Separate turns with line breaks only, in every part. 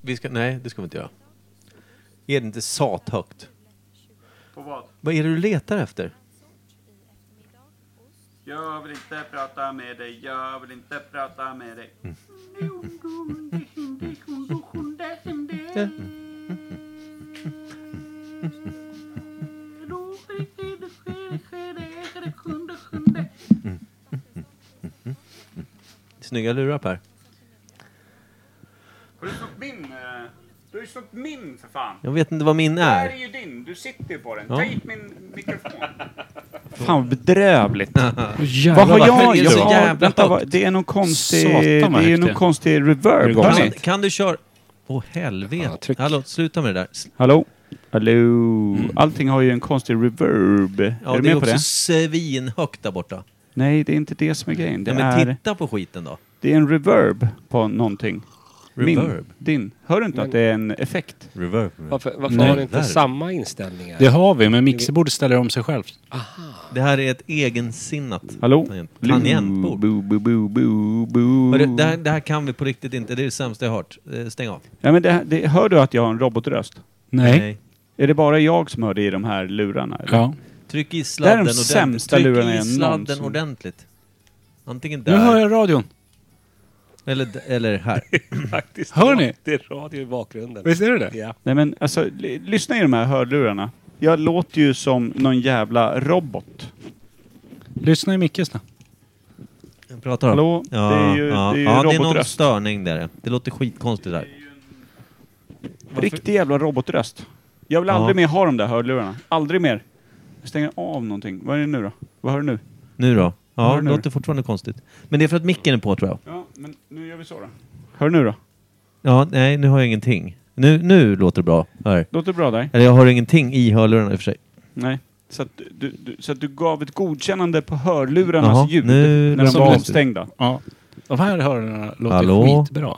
vi ska, nej, det ska vi inte göra. Är det inte sathögt?
På vad?
Vad är det du letar efter?
Jag vill inte prata med dig, jag vill inte prata med dig.
Mm. Mm.
Snygga lurar Per.
Har du snott min? eh, Du har ju snott min för fan.
Jag vet inte vad min
Det här är
är.
ju din, du sitter ju på den.
Ja.
Ta hit min mikrofon.
Fan vad bedrövligt.
Jävlar,
Vad har jag
det är så
gjort?
jävla
Vänta, vad-
högt.
Det är någon konstig,
Satan, vad
det är ju någon
högt det är.
konstig
Är
reverb. Alltså-
det
Hör
Kan,
ni?
kan du köra... Åh helvete.
Ja, tryck.
Hallå, sluta med det där. S-
Hallå? Hallå? Allting har ju en konstig reverb.
Ja,
är du
det är
med på
också
Mm. det?
svinhögt där borta.
Nej, det är inte det som är grejen. Det,
Ja, men
är,
titta på skiten då.
det är en reverb på någonting.
Reverb.
Min, din. Hör du inte
Men-
att det är en effekt?
Reverb.
Varför, varför
Nej,
har ni inte
där.
samma inställningar?
Det har vi, men mixerbordet ställer om sig självt.
Det här är ett egensinnat
Hallå?
tangent- tangentbord.
Bo, bo, bo, bo, bo.
Men Det, det, här, det här kan vi på riktigt inte. Det är det sämsta jag har hört. Eh, Stäng av.
Ja, men det, det, hör du att jag har en robotröst?
Nej.
Är det bara jag som hör det i de här lurarna? eller?
Ja.
Tryck i
Det
sladden
är de
ordentligt.
sämsta
Tryck
lurarna
i
jag
sladden
någonsin-
ordentligt. Antingen
Nu hör
där,
jag radion.
eller, d- eller här.
faktiskt.
Hör ni?
Det är radio i bakgrunden.
Visst är det det?
Ja.
Nej men alltså, l- lyssna i de här hörlurarna. Jag låter ju som någon jävla robot.
Lyssna i micken snabbt.
Jag pratar om.
Hallå?
Ja,
Det är ju-
ja.
det är ju
ja, det är någon
robotröst.
störning där. Det låter skitkonstigt där.
Riktig jävla robotröst. Jag vill
Ja.
aldrig mer ha de där hörlurarna. Aldrig mer. Jag stänger av någonting. Vad är det nu då? Vad hör du nu?
Nu då? Ja,
Hör
det
nu.
låter fortfarande konstigt. Men det är för att micken är på tror jag.
Ja, men nu gör vi så då. Hör du nu då?
Ja, nej, nu har jag ingenting. Nu, nu låter det bra. Här.
Låter det bra där?
Eller jag har ingenting i hörlurarna i och för sig.
Nej. Så att du, du, så att du gav ett godkännande på hörlurarnas
Jaha,
ljud
nu
när de
låter
var
det.
avstängda.
Ja. De här hörlurarna låter
Hallå?
skitbra.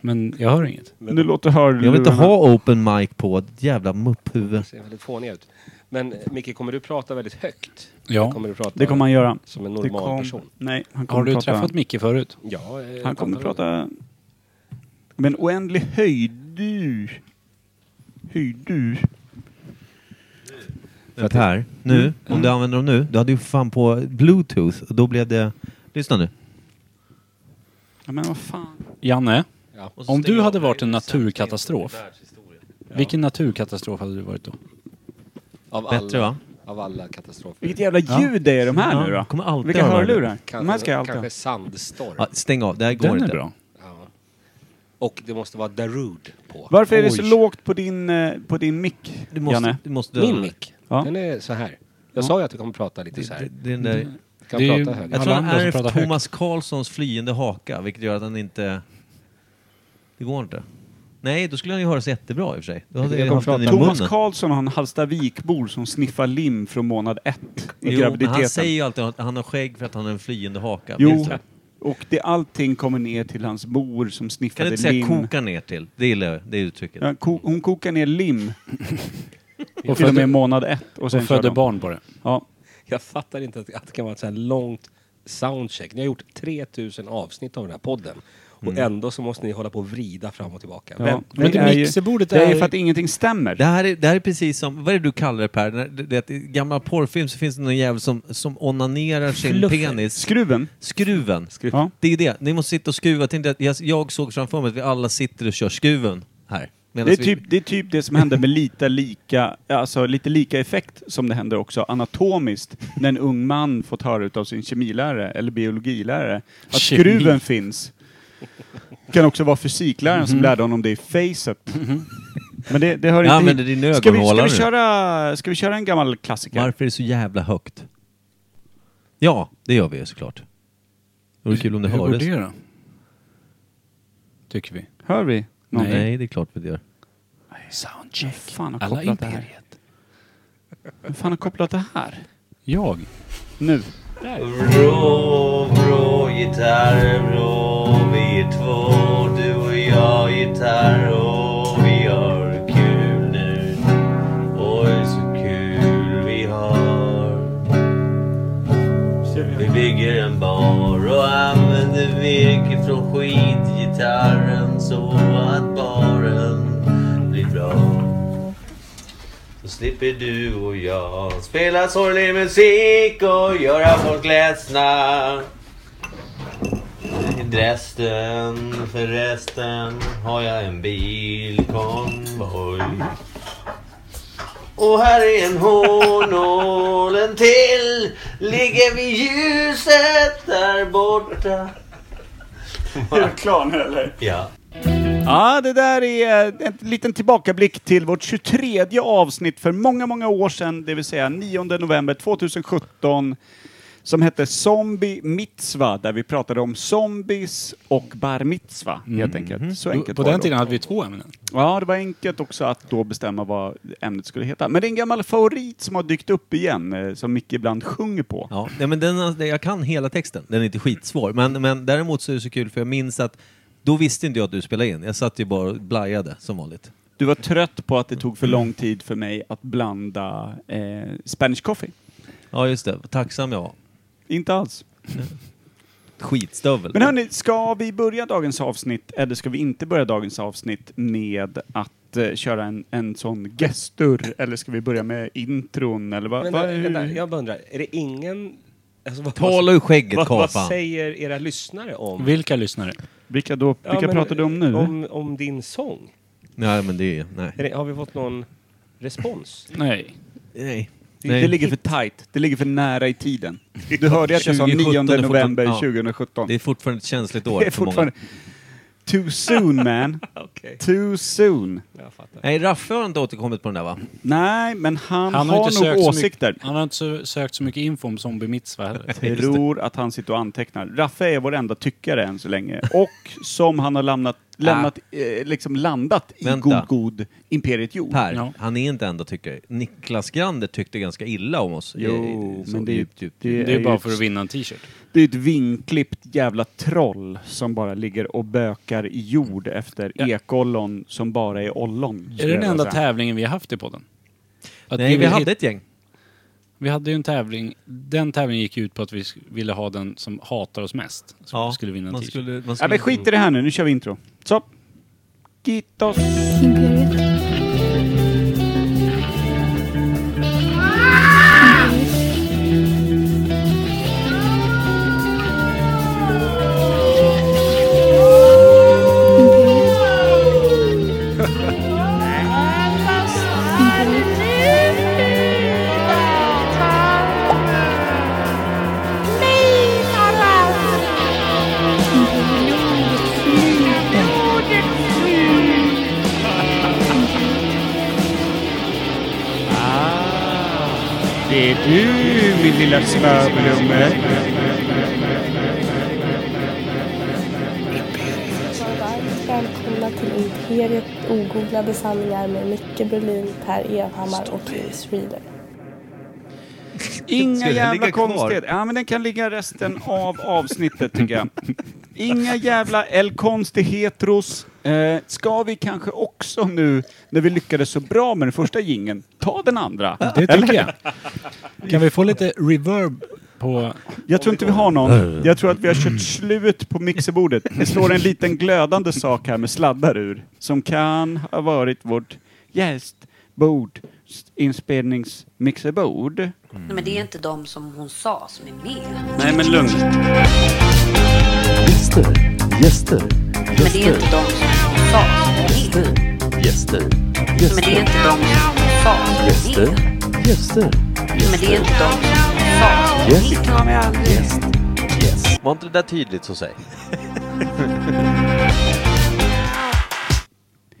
Men jag hör inget.
Nu låter hörlurarna...
Jag vill inte ha open mic på. ditt Jävla mupphuvud.
Det ser väldigt fåniga ut. Men eh, Micke, kommer du prata väldigt högt?
Ja.
Kommer du prata
Det kommer han göra.
som en
Det
normal
kom-
person?
Nej, han kommer
Har du
prata...
träffat Micke förut?
Ja. eh,
Han kommer
pratar-
prata med en oändlig höjd. Höjd.
För att här,
Mm.
nu, om du använder dem nu. Du hade ju fan på bluetooth och då blev det... Lyssna nu.
Ja, men vad fan.
Janne,
Ja.
Och så
om
stänger
du
jag
hade
av.
varit en
Det är sämst in i
naturkatastrof,
världshistorien.
vilken naturkatastrof hade du varit då?
Av alla,
Bättre va?
Av alla katastrofer.
Vilket jävla ljud det är de här
Ja,
nu då.
kommer alltid
Vilka
höra det.
hörlurar. De här ska jag alltid ha.
kanske sandstorm.
Ja, stäng av, det här går
Den är
inte.
bra.
Ja. Och det måste vara Darude på.
Varför är det så
Oj.
lågt på din, eh, på din mick,
Du måste,
Janne?
du måste
Min mick,
Ja.
den är så här. Jag sa ju att du kommer prata lite så
Det,
här.
det, den där,
Kan
det är ju-
prata högt.
jag
Alla
tror han
andra som
ärvt
pratar högt.
Thomas Karlssons flyende haka, vilket gör att han inte... Det går inte. Nej, då skulle han ju höra sig jättebra i och för sig. Då hade
Jag
jag
kommer
haft den i
Thomas
munnen.
Karlsson har en Hallstavikbor som sniffar lim från månad ett i
Jo, men han
graviditeten.
säger ju alltid att han har skägg för att han har en flyende haka.
jo,
Visst.
och det, allting kommer ner till hans mor som
Kan du
sniffade
inte säga
lim.
koka ner till? Det gillar jag, det uttrycket.
Ja, ko- hon kokar ner lim
Och
till och med
födde,
månad ett. Och sen
Och
kör
födde
de.
barn på det.
Ja.
jag fattar inte att, att det kan vara ett så här långt soundcheck. Ni har gjort 3000 avsnitt av den här podden. Och ändå så måste ni hålla på och vrida fram och tillbaka.
Mm. Ja.
Vem,
Men det
är ju-
mixerbordet
Det är ju
är-
för att ingenting stämmer.
Det här, är, det här är precis som, vad är det du kallar det Per? När- Det, det, I gamla porrfilm så finns det någon jävel som, som onanerar sin
Fluffen.
penis.
Skruven?
Skruven.
Ja.
Det är det. Ni måste sitta och skruva. Tänk dig att Jag, jag såg framför mig att vi alla sitter och kör skruven här.
Det är,
Medans
typ, det är typ det som händer med lite lika, alltså lite lika effekt som det händer också anatomiskt när en ung man fått höra utav sin kemilärare eller biologilärare att
Kemi.
skruven finns. Det kan också vara fysikläraren som lärde honom det i facet. Men det, det hör
Jag
inte
använder
hit.
din
ska vi, ska,
ögonhåla
vi
nu.
köra, ska vi köra en gammal
vi,
klassiker?
varför är det så jävla högt? Ja, det gör vi ju såklart. Det vore kul om det
Hur går
hördes.
det då? Tycker vi.
Hör vi någonting?
Nej, det är klart vi gör.
Vem
Soundcheck.
fan har
Alla
kopplat det här?
imperiet.
Vem fan har kopplat det här?
Jag?
Nu.
Vrå, vrå, gitarr, vrå Vi är två, du och jag, gitarr och vi har kul nu Oj, så kul vi har Vi bygger en bar och använder virke från skitgitarren så att bar Då slipper du och jag spela sorglig musik och göra folk ledsna. I Dresden, förresten, har jag en bilkonvoj. Och här är en hårnål, en till. Ligger vid ljuset där borta.
Är du klar nu eller?
Ja.
Ja, det där är en liten tillbakablick till vårt 23 avsnitt för många, många år sedan, det vill säga 9 november 2017, som hette Zombie Mitzva, där vi pratade om zombies och bar mitzva, helt enkelt. Så enkelt
Mm. Mm-hmm. På
var det
den
då.
tiden hade vi två ämnen.
Ja, det var enkelt också att då bestämma vad ämnet skulle heta. Men det är en gammal favorit som har dykt upp igen, eh, som Micke ibland sjunger på.
Ja, nej, men den, jag kan hela texten. Den är inte skitsvår. Men, men däremot så är det så kul för jag minns att då visste inte jag att du spelade in. Jag satt ju bara och blajade som vanligt.
Du var trött på att det tog för lång tid för mig att blanda eh, Spanish coffee.
Ja, just det. Vad Tacksam jag var.
Inte alls.
Skitstövel.
Men
Mm.
hörni, ska vi börja dagens avsnitt, eller ska vi inte börja dagens avsnitt med att eh, köra en, en sån gestur? Eller ska vi börja med intron? Eller vad,
Vänta,
vad,
eh, vänta, jag bara undrar, är det ingen... Alltså, vad,
Tala ur skägget,
vad, vad
Kapan.
säger era lyssnare om...
Vilka lyssnare?
Vilka, då,
Ja,
vilka
men,
pratar du om nu?
Om, om din sång.
Nej, men det är... Nej.
Är det, har vi fått någon respons?
Nej.
Nej.
Det ligger för tight, det ligger för nära i tiden. Du hörde att jag sa 9
2017, det är fortfarande-
november
ja.
2017.
Det är fortfarande ett känsligt
Det
år
är
för många.
fortfarande... Too soon man,
Okej.
too soon.
Jag fattar.
Nej, Raffe har inte återkommit på den där va?
Nej, men han, har, nog
så
åsikter.
Mycket, han har inte så, sökt så mycket info om Zombie Mitzva heller.
Tror att han sitter och antecknar. Raffe är vår enda tyckare än så länge. Och som han har lämnat, lämnat, eh, liksom landat i
Ah. Vänta.
god, god Imperiet Jord.
Per,
Ja.
han är inte enda tyckare. Niklas Grander tyckte ganska illa om oss. Eh,
Jo,
Så
men det är,
djupt, djupt,
det, är,
Det är bara
ett,
för att vinna en t-shirt.
det är ett vinklippt jävla troll som bara ligger och bökar i jord efter
Ja.
ekollon som bara är ollon. skulle
Är det
jag
den
vilja
enda
säga.
tävlingen vi har haft i podden? Att
Nej, vi
vill
hade
hit-
ett gäng.
vi hade ju en tävling. Den tävlingen gick ut på att vi sk- ville ha den som hatar oss mest. Som skulle vinna en
man
t-shirt.
skulle, man
Ja,
skulle,
men skit i det här nu, nu kör vi intro. Så. Gitos.
ya.
Imperiet.
Det är du, min lilla snöblumme.
Varmt välkomna till Imperiet ogooglade sanningar med Micke Berlin, Per Evhammar och Louise Reader.
Ska
Inga
den
jävla
ligga kvar?
konstigheter. Ja, men den kan ligga resten av avsnittet tycker jag. Inga jävla L-konstighetros. Eh, ska vi kanske också nu, när vi lyckades så bra med den första gingen, ta den andra?
Det tycker jag. Kan vi få lite reverb på...
Jag tror inte vi har någon. Jag tror att vi har kört slut på mixerbordet. Det står en liten glödande sak här med sladdar ur, som kan ha varit vårt gästbord, inspelningsmixerbord.
Nej, men det är inte de som hon sa som är med.
Nej men lugn.
Gäster, gäster,
Nej, men det är inte de som hon sa som är med.
gäster,
Nej, men det är inte de som hon sa som är med.
gäster,
Nej, men det är inte de som hon sa som är med.
Var inte det där tydligt så säg?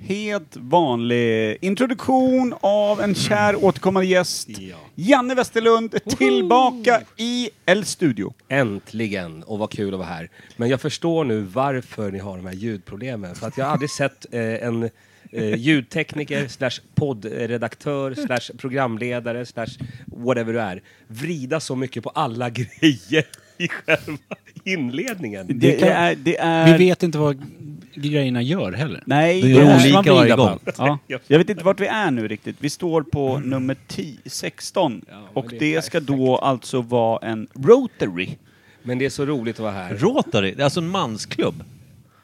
Helt vanlig introduktion av en kär återkommande gäst. Janne Westerlund är tillbaka i El Studio.
Äntligen! Och vad kul att vara här. Men jag förstår nu varför ni har de här ljudproblemen. För att jag har aldrig sett eh, en eh, ljudtekniker slash poddredaktör slash programledare slash whatever du är vrida så mycket på alla grejer i själva inledningen.
Det är... Det
Vi
är
vet inte vad grejerna gör heller.
nej,
Det
det
är
är-
man
olika
vrida
varje
på
gång.
allt.
Ja. Jag vet inte vart vi är nu riktigt. Vi står på nummer 10, 16.
men
Och
det är
det ska då alltså vara en Rotary.
Men det är så roligt att vara här.
Rotary, det är alltså en mansklubb.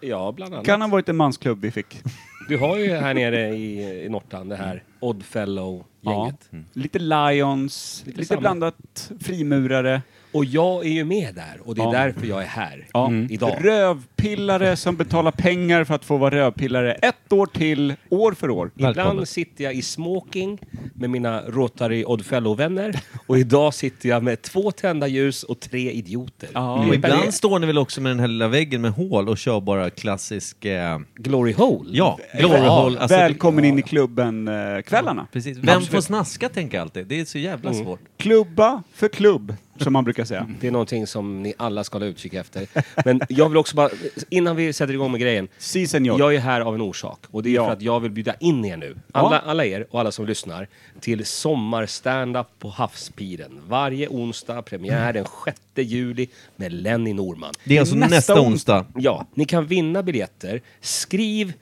Ja, bland annat.
Kan ha varit en mansklubb vi fick.
Du har ju här nere i, i Nortan det här Oddfellow-gänget.
Lite Lions, lite,
samma.
blandat frimurare.
Och jag är ju med där och det är
Ja. Mm.
därför jag är här idag.
Rövpillare som betalar pengar för att få vara rövpillare ett år till, år för år.
Ibland sitter jag i smoking med mina Rotary Oddfellow-vänner och idag sitter jag med två tända ljus och tre idioter. Mm.
Ja,
Och
Det är
ibland står ni väl också med den här lilla väggen med hål och kör bara klassisk... Eh,
Glory Hole.
ja, glory hole. Alltså,
Välkommen in i eh, klubben-kvällarna.
Precis. Vem får snaska tänker jag alltid. Det är så jävla svårt.
Klubba för klubb, som man brukar säga.
Det är någonting som ni alla ska hålla utkik efter. Men jag vill också bara, innan vi sätter igång med grejen.
Si, senor.
Jag är här av en orsak och det är
Ja.
för att jag vill bjuda in er nu, alla, alla er och alla som lyssnar, till sommarstandup på Havspiren. Varje onsdag, premiär den 6 juli med Lenny Norman.
Det är alltså nästa, onsdag.
Ja, ni kan vinna biljetter. Skriv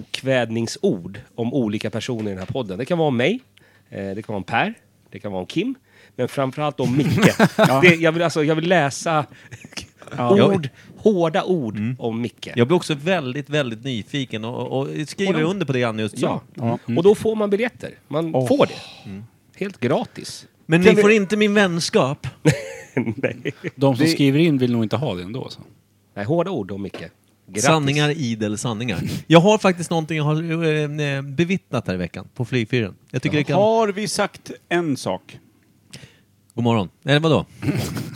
okvädningsord om olika personer i den här podden. Det kan vara om mig, eh, det kan vara om Per, det kan vara om Kim, men framförallt om Micke. det, jag, vill, alltså, jag vill läsa ord, hårda ord
Mm.
om Micke.
Jag blir också väldigt, väldigt nyfiken och, och skriver
Och de-
under på det Janne just sa.
Ja.
Mm.
Och då får man biljetter. Man får det. Helt gratis.
Men ni
Kan vi-
får inte min vänskap.
Nej.
De som skriver in vill nog inte ha det ändå. Så.
Nej, hårda ord om Micke. Grattis.
Sanningar, idel sanningar. Jag har faktiskt någonting jag har eh, bevittnat här i veckan på flygfyren. Jag tycker det kan...
Har vi sagt en sak?
God morgon. Eller vadå?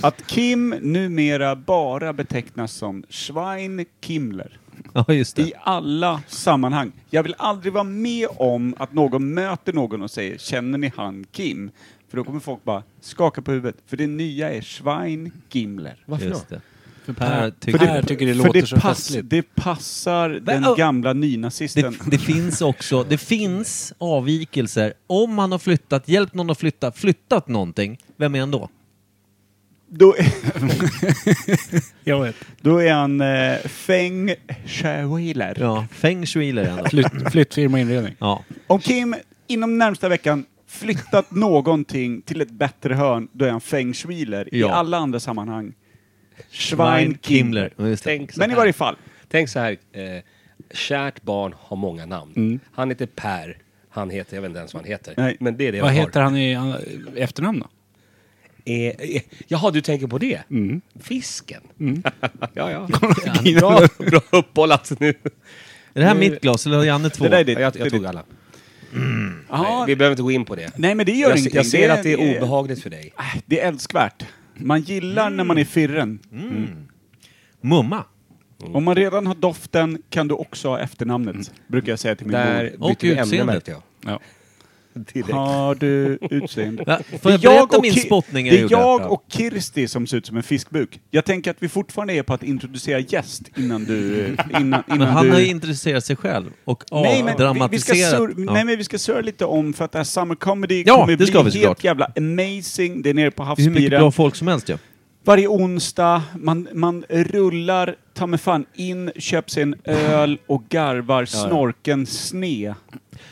Att Kim numera bara betecknas som Schwein Kimler.
Ja, just det.
I alla sammanhang. Jag vill aldrig vara med om att någon möter någon och säger ”Känner ni han Kim?” För då kommer folk bara skaka på huvudet. För det nya är Schwein Gimler.
Varför då?
Just det. För Per
För
tycker...
Per tycker det
för
låter
det
så
pass,
festligt.
Det passar den
oh.
gamla
Det,
nynazisten.
det finns också, det finns avvikelser. Om han har flyttat, hjälpt någon att flytta, flyttat någonting, vem är han då?
Då,
Jag vet.
då är han eh, Feng Shui-ler.
Ja, feng shui är han då.
Flytt, flyttfirma och inredning.
Ja.
Om Kim inom närmsta veckan flyttat någonting till ett bättre hörn, då är han Feng Shui-ler. I
Ja.
alla andra sammanhang. Schwein Kimler.
Ja, just det.
Tänk så
Men i
här.
varje fall.
Tänk så här. Eh, kärt barn har många namn. Han heter Per. Han heter, jag vet inte ens vad han heter.
Mm. Nej.
Men det är det
Vad
jag
heter
har.
han i eh, efternamn då?
Eh, eh, jaha, du tänker på det?
Mm.
Fisken. ja, ja.
Gina.
Bra, bra uppbollat nu.
Är det här mitt glas eller har Janne två?
Det där är ditt.
Ja, jag,
Det är
jag tog
ditt.
alla. Nej,
Jaha,
vi behöver inte gå in på det.
Nej, men det gör
jag,
ingenting.
jag ser att det är
eh,
obehagligt för dig.
Äh, Det är älskvärt. Man gillar när man är firren.
Mumma.
Om man redan har doften kan du också ha efternamnet, brukar jag säga till min
Där
mor.
byter
Och
vi ämne
utseendet.
märkte jag.
Ja.
Har du utseende?
Va? Får jag berätta min
Ki-
spottning jag
Det är
gjorde?
jag
Ja.
och Kirsti som ser ut som en fiskbuk. Jag tänker att vi fortfarande är på att introducera gäst innan du... eh, Innan, innan
Men han
du...
har ju intresserat sig själv och
Nej men, vi, vi ska
avdramatiserat.
sur,
ja.
nej men vi ska surra lite om för att det här Summer Comedy
Ja,
kommer
det ska vi
bli helt
såklart.
jävla amazing. Det är nere på
Det är hur mycket bra
havspiren.
folk som helst ju.
Varje onsdag, man, man rullar ta mig fan in, köper sig en öl och garvar snorken sne.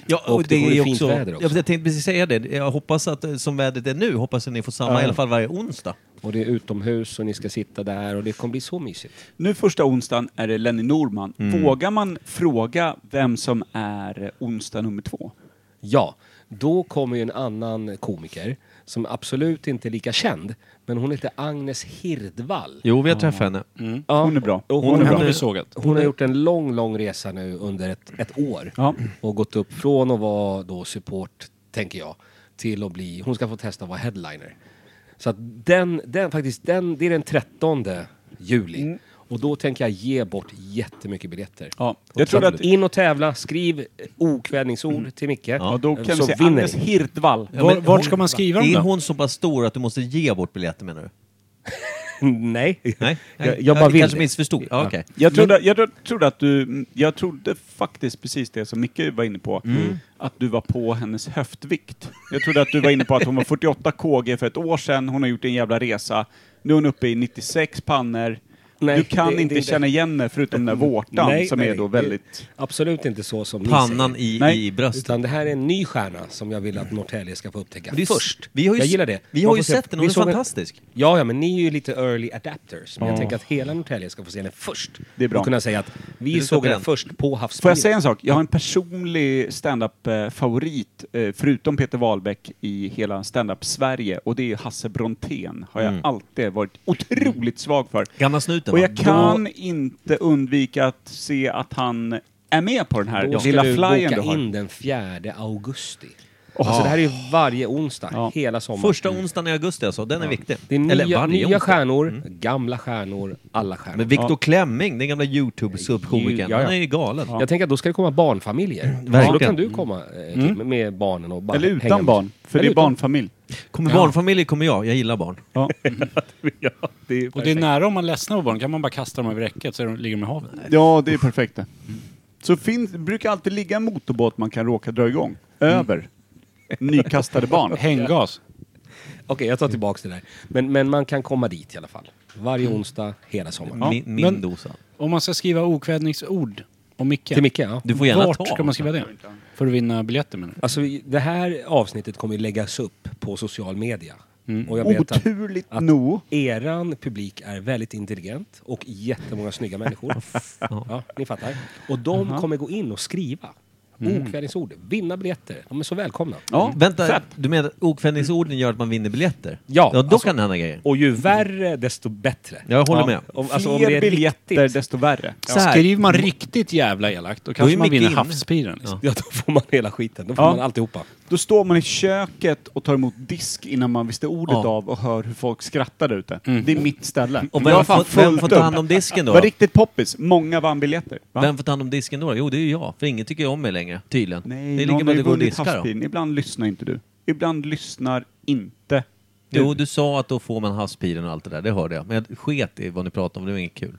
Ja, och,
Och det
det,
kommer
är
fint
också,
väder också.
Jag, jag tänkte precis säga det. Jag hoppas att eh, som vädret är nu, hoppas att ni får samma i alla fall varje onsdag.
Och det är utomhus och ni ska sitta där och det kommer bli så mysigt.
Nu första onsdagen är det Lenny Norman. Vågar man fråga vem som är onsdag nummer två?
Ja, då kommer ju en annan komiker som absolut inte är lika känd. Men hon heter Agnes Hirdvall.
Jo, vi har träffat henne.
Ja,
Hon är bra.
och
Hon
hon,
är
Hon
bra.
hon,
har vi
nu-
sågat.
har gjort en lång, lång resa nu under ett, ett år.
Ja.
Och gått upp från att vara då support, tänker jag, till att bli... Hon ska få testa att vara headliner. Så att den, den faktiskt, den, det är den 13 juli. Och då tänker jag ge bort jättemycket biljetter.
Mm. Ja.
Och
Jag tror
så
att... Mm.
In och tävla, skriv eh, okvädningsord till Micke.
Ja, då kan
så
vi se
vinner
Agnes
ni.
Hirtvall.
Var, vart ska man skriva dem
Är
då?
hon så pass stor att du måste ge bort biljetter menar du?
Nej.
Nej?
Jag, jag bara vill
kanske
det.
missförstod. Ja, okej.
Jag trodde, jag trodde att du... Jag trodde faktiskt precis det som Micke var inne på.
Mm.
Att du var på hennes höftvikt. Jag trodde att du var inne på att hon var 48 kg för ett år sedan. Hon har gjort en jävla resa. Nu är hon uppe i 96 pannor.
Nej,
du kan
det- det
inte
är inte- Mm.
känna igen mig förutom den där vårtan
Nej,
som
nej,
är då
det-
väldigt...
Absolut inte så som
Pannan
ni
i,
Nej.
i
säger.
bröstet.
Utan det här är en ny stjärna som jag vill att Norrtälje ska få upptäcka
Men det är s-
först.
vi har ju
jag
s-
gillar det.
vi har
Man
ju
får se-
sett den och
vi
den är
såg den-
fantastisk.
Ja, ja, men ni är ju lite early adapters. Men jag tänker att hela Norrtälje ska få se den först.
Det är bra.
Och kunna säga att vi
Du ska
såg
på
den
den.
först på Havsbyrån.
Får jag säga en sak? Jag har en personlig standup-favorit, eh, förutom Peter Wahlbeck, i hela standup-Sverige. Och det är Hasse Brontén. Har jag
Mm.
alltid varit otroligt svag för.
Gamla snuten
Och
va?
jag kan inte undvika att se att han är med på den
Då
här
ska
lilla
du
flyen
boka
du har.
in den 4 augusti. Alltså det här är ju varje onsdag,
Ja.
hela sommaren. Mm.
Första onsdagen i augusti alltså, den är viktig.
det är
Eller
nya,
varje
nya
onsdag. Mm.
stjärnor, gamla stjärnor, alla stjärnor.
Men Viktor Klemming, den gamla Youtube-subkomikern,
Ja, ja.
han är ju galen.
Jag tänker att då ska det komma barnfamiljer.
Mm. Verkligen. Mm.
Så då kan du komma eh, Kim, med barnen och bara
Eller
hänga
utan
med.
barn, för
Eller
det är
utan-
barnfamilj.
Kommer barnfamilj kommer jag, jag gillar barn.
Ja.
Och det är nära om man ledsnar på barn. kan man bara kasta dem över räcket så är de- ligger de i havet.
ja, det är perfekt det. Så finns, det brukar alltid ligga en motorbåt man kan råka dra igång.
Mm.
Över. Nykastade barn.
Hänggas.
Okej, jag tar tillbaka det där. Men, men man kan komma dit i alla fall. Varje
Mm.
onsdag, hela sommaren.
Min, min
men-
dosa.
Om man ska skriva okvädningsord om Micke.
Till Micke, ja.
Du får gärna
Vart
ta.
ska man skriva det? För att vinna biljetter menar du?
Alltså, vi- det här avsnittet kommer ju läggas upp på social media. Och jag vet att
Mm. Oturligt nog.
eran publik är väldigt intelligent och jättemånga snygga människor. ja, ni fattar. Och de kommer gå in och skriva.
Mm.
Okvädingsord, vinna biljetter. De är så välkomna.
Ja, vänta, du menar att okvädningsorden gör att man vinner biljetter?
Ja,
ja då
alltså-
kan det hända grejer.
Och ju värre, desto bättre.
Jag håller med.
Om,
Fler
alltså, om det är
biljetter,
riktigt,
desto värre.
Så här.
Skriver man riktigt jävla elakt då kanske
är
man
Micke
vinner
inne.
havspiren. Liksom.
ja, då får man hela skiten. Då får
Ja.
man alltihopa.
Då står man i köket och tar emot disk innan man visste ordet
Ja.
av och hör hur folk skrattar där ute. Det är mitt ställe.
Och
Jag har
vem,
fan
får, vem
fullt
får ta
upp.
hand om disken då?
Var riktigt poppis. Många vann biljetter. Va?
Vem får ta hand om disken då? Jo, det är ju jag. För ingen tycker om mig längre, tydligen.
Nej,
det är lika
någon har
bra att
ju
du går och
vunnit
diskar då.
havspiren. Ibland lyssnar inte du. Ibland lyssnar inte du.
Jo, du sa att då får man havspiren och allt det där, det hörde jag. Men jag sket i vad ni pratade om, det var inget kul.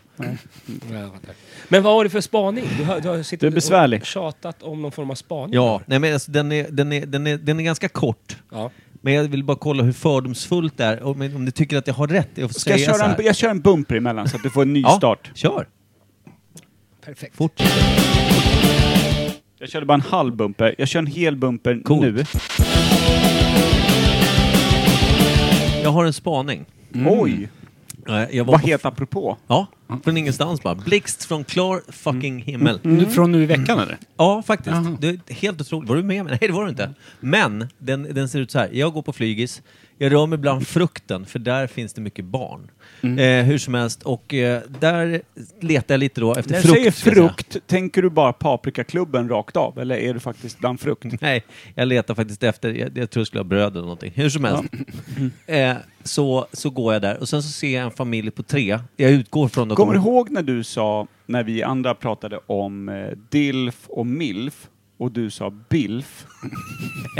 Ja, jag fattar. Men vad har du för spaning? Du har, du har suttit
Du är besvärlig.
och tjatat om någon form av spaning.
Ja, nej men alltså, den, är, den, är, den, är, den är ganska kort.
Ja.
Men jag vill bara kolla hur fördomsfullt det är, om, om ni tycker att jag har rätt i att
Ska jag,
säga så
köra
här.
en, jag kör en bumper emellan så att du får en ny start.
Ja, kör!
Perfekt.
Fort.
Jag körde bara en halv bumper. Jag kör en hel bumper
Coolt.
nu.
Jag har en spaning.
Oj!
Eh, Jag var
Vad
på,
heter apropå?
ja, från ingenstans bara. Blixt från klar fucking himmel.
Mm.
Nu, Mm. från nu i
Mm.
veckan eller?
Ja, faktiskt.
Jaha.
Det är helt otroligt. Var du med mig? Nej, det var du inte. Men den, den ser ut så här. Jag går på flygis. Jag rör mig bland frukten, för där finns det mycket barn.
Mm.
Eh, hur som helst. Och eh, där letar jag lite då efter
När du
frukt.
säger
ska jag säga.
frukt, tänker du bara paprikaklubben rakt av? Eller är du faktiskt bland frukt?
Nej, jag letar faktiskt efter, jag, jag tror jag skulle ha bröd eller någonting. Hur som helst. Eh, så, så går jag där och sen så ser jag en familj på tre. Jag utgår från att
Kommer du
de-
ihåg när du sa, när vi andra pratade om eh, DILF och MILF och du sa BILF?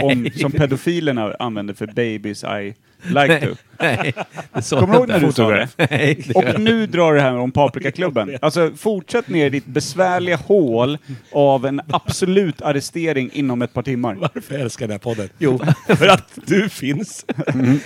om, som pedofilerna använder för babies I like to.
Nej, det sa
Kommer du
jag
ihåg när
inte.
du sa det?
Nej, det-
Och nu drar det här om Paprikaklubben. Alltså, fortsätt ner i ditt besvärliga hål av en absolut arrestering inom ett par timmar.
Varför älskar jag den här podden? Jo, för att du finns.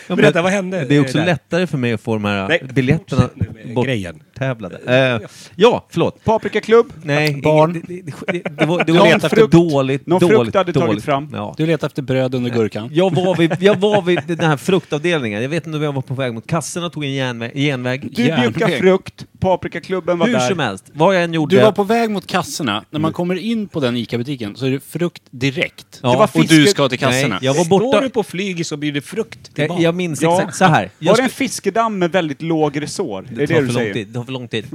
Berätta, vad hände?
det är också
där?
lättare för mig att få de här
Nej,
biljetterna
fortsätt nu med
bort-
grejen.
tävlade. Eh, ja, förlåt.
Paprikaklubb?
Nej,
Barn.
ingen- Det, det, det, det var, det
Någon
var letat efter
frukt-
dåligt,
någon frukt
dåligt,
hade tagit
dåligt.
fram.
Ja.
Du letar efter bröd under gurkan.
Jag var, vid, jag var vid den här fruktavdelningen. Jag vet inte om jag var på väg mot kassorna och tog en järnvä- genväg.
Du bjuckar frukt, Paprikaklubben var
Hur
där.
som helst, vad jag än gjorde.
Du var på väg mot kassorna. När man kommer in på den ICA-butiken så är det frukt direkt.
Mm. Ja. Det var
och
fisket-
du ska till kassorna.
Nej, jag var
Står
borta.
du på flygis och bjuder frukt till
Jag,
barn?
jag minns
Ja.
exakt så här. Jag
Var det en
skulle-
fiskedamm med väldigt låg resår? Det är
tar
det du
för lång
säger?
tid. Det tar för lång tid.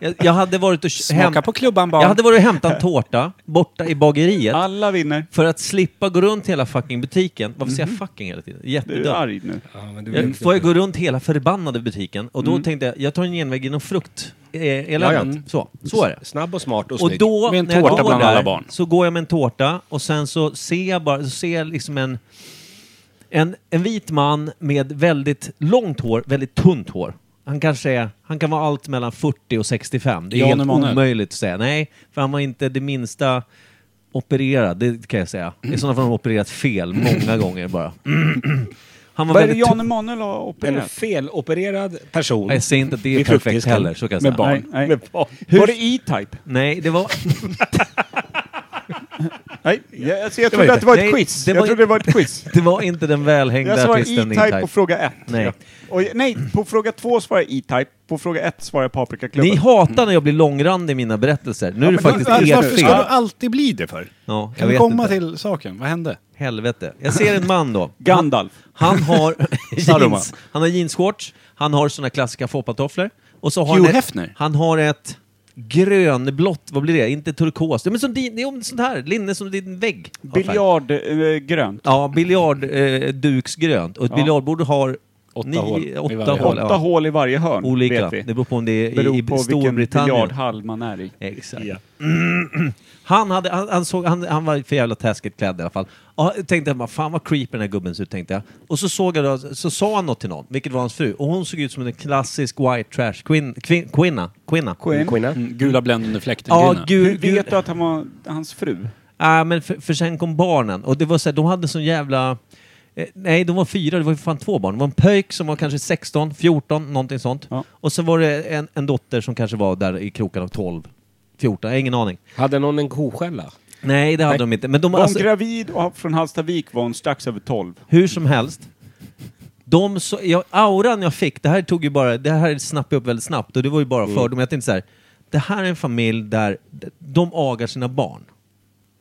Jag, jag hade varit och
Smaka på klubban barn.
Jag hade varit och hämtat en tårta borta i bageriet.
Alla vinner.
För att slippa gå runt hela fucking butiken. Varför säger jag fucking hela tiden?
Du är
Jättedömt.
arg nu.
Ja, men du
Jag får jag gå runt hela förbannade butiken och då tänkte jag, jag tar en genväg genom frukt. Eh, eländet.
Ja,
Så, så är det.
Snabb och smart och,
Och
snygg.
då,
Med en
när jag
tårta
går
bland
där,
alla barn.
så går jag med en tårta och sen så ser jag bara, så ser jag liksom en, en, en vit man med väldigt långt hår, väldigt tunt hår. Han kanske är, han kan vara allt mellan 40 och 65. Det är
Jan
helt
Emanuel.
omöjligt att säga. Nej, för han var inte det minsta opererad, det kan jag säga. I sådana fall har han opererat fel många gånger bara. Han var
Vad är det
väldigt...
Jan
tu-
Emanuel har
En
opererat?
felopererad person.
Jag ser inte att det är
Vid
perfekt
fruktdisken.
heller, så kan jag
Med
säga.
barn?
Nej.
Nej. Var det E-Type?
Nej, det var...
Nej, jag, alltså,
var ju
jag trodde att det var ett
det.
quiz.
Nej, det
jag
var ju-
trodde det var ett quiz.
Det var inte den välhängda
Jag svarade
artisten
E-Type på fråga ett.
Nej.
Ja. Och, nej, på fråga två svarade jag E-Type, på fråga ett svarade jag Paprikaklubben.
Ni hatar när jag blir långrandig i mina berättelser. Nu är det faktiskt
Varför
ert
varför ska
fel.
det alltid bli det för?
Ja, jag
Kan vi
vet
komma
inte.
till saken? Vad hände?
Helvete. Jag ser en man då.
Gandalf.
Han har
Saruman.
jeans, han har jeansshorts, han har såna klassiska foppatofflor. Och så har
Hugh
han, ett,
Hefner.
han har ett grönblått, vad blir det? Inte turkos. Ja, Men som din, det är om sånt här, linne som din vägg. har färg.
eh, Biljardgrönt.
Ja, biljardduksgrönt. Eh, duksgrönt. och ett
Ja.
biljardbord har
Åtta
nio,
hål i
åtta
varje
hål,
hål.
ja.
Åtta hål i varje hörn,
Olika.
vet
Det
vi.
beror på om det är i,
Beror
i
på vilken
Storbritannien.
biljardhall man är i.
Exakt. Han, hade, han, han, såg, han, han var för jävla taskigt klädd i alla fall. Ja, jag tänkte bara, fan vad creepy den här gubben ser ut, tänkte jag. Och så, såg jag då, så sa han något till någon, vilket var hans fru. Och hon såg ut som en klassisk white trash queen, queen, kvinna. kvinna.
Quinn.
Quinna.
Mm, Gula bländande fläkten
Ja,
Grinna.
Hur
gul, gul,
vet du att han var hans fru?
Ah, men för, för sen kom barnen och det var så här, de hade sån jävla... Eh, nej, de var fyra, det var ju fan två barn. Det var en pöjk som var kanske 16, 14, någonting sånt.
Ja.
Och sen var det en, en dotter som kanske var där i kroken av 12, 14, jag har ingen aning.
Hade någon en koskälla?
Nej, det hade
Nej.
de inte. Men de,
Var hon
alltså,
gravid och från Hallstavik var hon strax över 12.
hur som helst. De så, jag, auran jag fick, det här tog ju bara, det här snappade jag upp väldigt snabbt och det var ju bara fördomar. Jag tänkte så här, det här är en familj där de agar sina barn.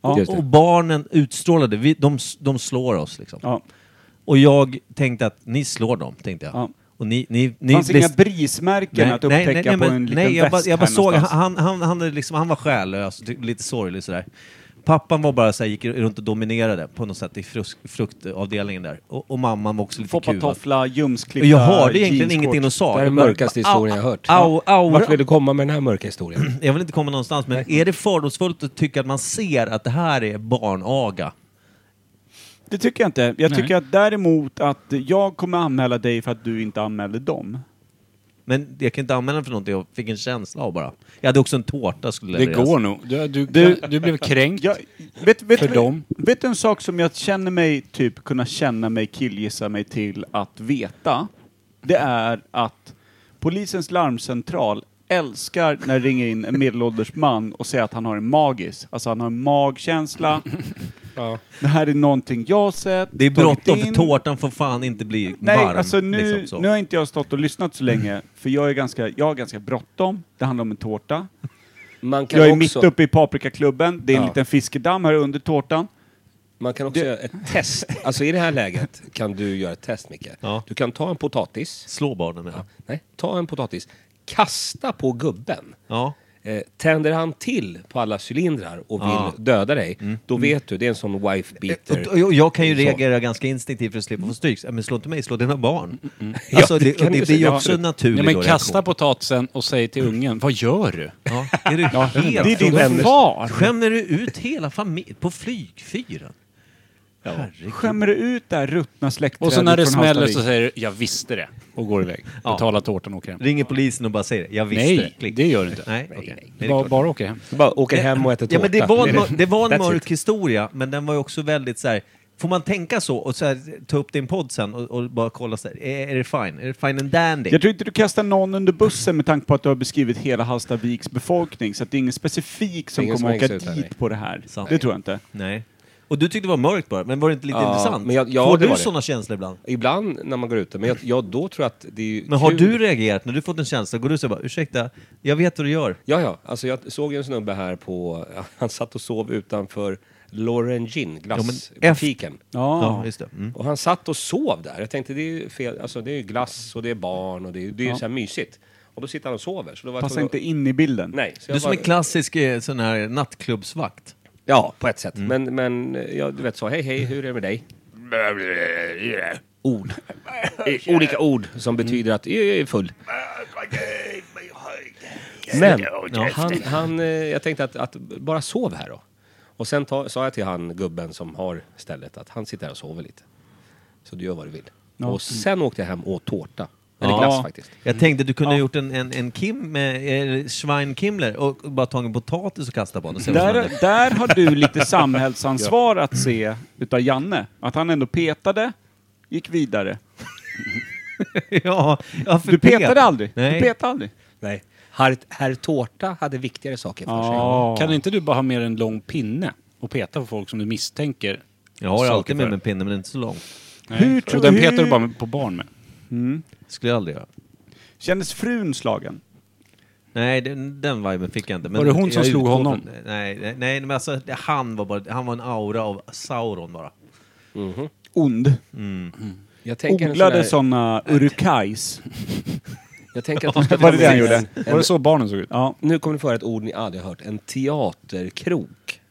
Ja.
Just det.
Och barnen utstrålade, vi, de, de slår oss liksom.
Ja.
Och jag tänkte att ni slår dem, tänkte jag.
Ja.
Och ni, ni,
Det
ni
fanns inga brismärken att upptäcka på
men-
en liten
nej, jag bara,
väst
jag bara
här
såg,
någonstans.
han, han, han, är liksom, han var själlös, ty- lite sorglig sådär. Pappan var bara såhär, gick runt och dominerade på något sätt i frusk, fruktavdelningen där. Och, och mamman var också lite kuvad.
Foppatoffla,
Och
ljumsklippta,
Jag hörde egentligen
jeansshorts.
ingenting de sa.
Det här är
Jag
den
bara- Ah,
mörkaste historien jag har hört.
Au, au,
Vart vill du komma med den här mörka historien?
jag vill inte komma någonstans, men är det fördomsfullt att tycka att man ser att det här är barnaga?
Det tycker jag inte. Jag
Nej.
tycker att däremot att jag kommer anmäla dig för att du inte anmälde dem.
Men jag kan inte använda den för någonting, jag fick en känsla av bara. Jag hade också en tårta skulle
Det
levereras.
går nog. Du, du,
Du-
du, blev kränkt.
Jag, vet, vet,
För
vet,
dem.
vet du en sak som jag känner mig, typ kunna känna mig killgissa mig till att veta? Det är att polisens larmcentral älskar när det ringer in en medelålders man och säger att han har en magis. Alltså han har en magkänsla. Det här är någonting jag har sett.
Det är
tagit
bråttom, för
in.
tårtan får fan inte bli
Nej,
varm.
alltså nu,
liksom, så.
nu har inte jag stått och lyssnat så länge, för jag är ganska, jag har ganska bråttom. Det handlar om en tårta.
Man kan
Jag är mitt
också,
uppe i paprikaklubben. Det är en
Ja.
liten fiskedamm här under tårtan.
man kan också
Det-
göra ett test. Alltså i det här läget kan du göra ett test, Micke.
Ja.
Du kan ta en potatis.
Slå barnen med. Ja.
Nej, ta en potatis. Kasta på gubben.
ja.
Eh, tänder han till på alla cylindrar och vill
Ja. Mm. Eh,
döda dig, då vet du, det är en sån wife beater.
Och, och jag kan ju
Så.
reagera ganska instinktivt för att slippa få stryk. Ja, Men slå inte mig, slå dina barn. Alltså,
Ja, det
det,
kan
och det
du
blir ju
säga.
också en naturlig
Ja,
då
men
reaktion.
kasta potatisen och säg till ungen, vad gör du?
Ja, är du helt
Det är din
full?
far.
Skämmer du ut hela familjen på flygfyren? Herregud.
Skämmer du ut det här ruttna släktträdet
Och så när det
från
smäller
Hallstavik?
så säger du, jag visste det. Och går iväg.
Ja.
Betalar tårtan och åker hem.
Ringer polisen och bara säger det. Jag visste
Nej,
Klick.
det gör du inte.
Nej, okej. Nej, det är
Bara,
klart.
bara åker hem.
Bara åker hem och äter tårta.
Ja, men det var en,
är
mör- det var en
That's
mörk
it.
historia, men den var ju också väldigt så här. Får man tänka så och så här, ta upp din podd sen och, och bara kolla så här, är, är det fine? Är det fine and dandy?
Jag tror inte du kastar någon under bussen med tanke på att du har beskrivit hela Hallstaviks befolkning, så att det är ingen specifik som
Ingen som
kommer åka
hängs ut här, nej.
dit på det här.
Sant.
Det tror jag inte.
Nej. Och du tyckte det var mörkt bara, men var det inte lite
Ja,
intressant?
men jag- ja,
Får
det
du
var det.
sådana känslor ibland?
Ibland när man går ute, men jag, jag, då tror jag att det är ju
Men har
kul.
du reagerat när du fått en känsla? Går du så här bara, ursäkta, jag vet vad du gör.
Ja, ja. Alltså jag såg ju en snubbe här på... Han satt och sov utanför Lorengin,
men
glassbutiken.
Ja,
Ja.
just det. Mm.
Och han satt och sov där. Jag tänkte det är ju fel, alltså det är ju glass och det är barn och det är, det är ju så här mysigt. Och då sitter han och sover. Så då var jag
Passa
tvungen-
inte in i bilden.
Nej. så jag
Du som
bara-
en klassisk eh, sån här nattklubbsvakt.
Ja, på ett sätt.
Mm.
Men, men eh, jag du vet, sa hej, hej, hur är det med dig? Ord. Eh, Olika ord som betyder att jag är full. Men han, han, eh, jag tänkte att, att bara sov här då. Och sen ta, sa jag till han, gubben som har stället, att han sitter här och sover lite. Så du gör vad du vill. Och sen åkte jag hem och åt tårta. Eller
Ja.
glass faktiskt.
Jag tänkte att du kunde ha gjort en, en, en Kim, eh, Schweinkimler och bara tagit en potatis och kastat på den och se vad som
Där,
händer.
där har du lite samhällsansvar att se utav Janne. Att han ändå petade, gick vidare.
ja, ja, för
Du
pet.
petade aldrig.
Nej.
Du petade aldrig.
Nej. Herr, herr Tårta hade viktigare saker för sig.
Kan inte du bara ha med en lång pinne och peta på folk som du misstänker?
Jag har
saker
alltid med
för?
mig en pinne, men inte så lång.
Hur tror
och den
du-
petar du bara med- på barn med.
Skulle jag aldrig göra.
Kändes frun slagen?
Nej, den, den viben fick jag inte. Men
Var det hon som
jag
slog
utgår
honom?
från- Nej, nej, nej, men alltså det- han var bara, han var en aura av Sauron bara.
Ond.
Jag tänker en sån
Odlade
där-
sådana urukais.
Jag tänker att de ska
Var det det han
göra
gjorde?
en-
Var det så barnen såg ut?
Ja.
Nu kommer ni få höra ett ord ni aldrig har hört. En teaterkrok.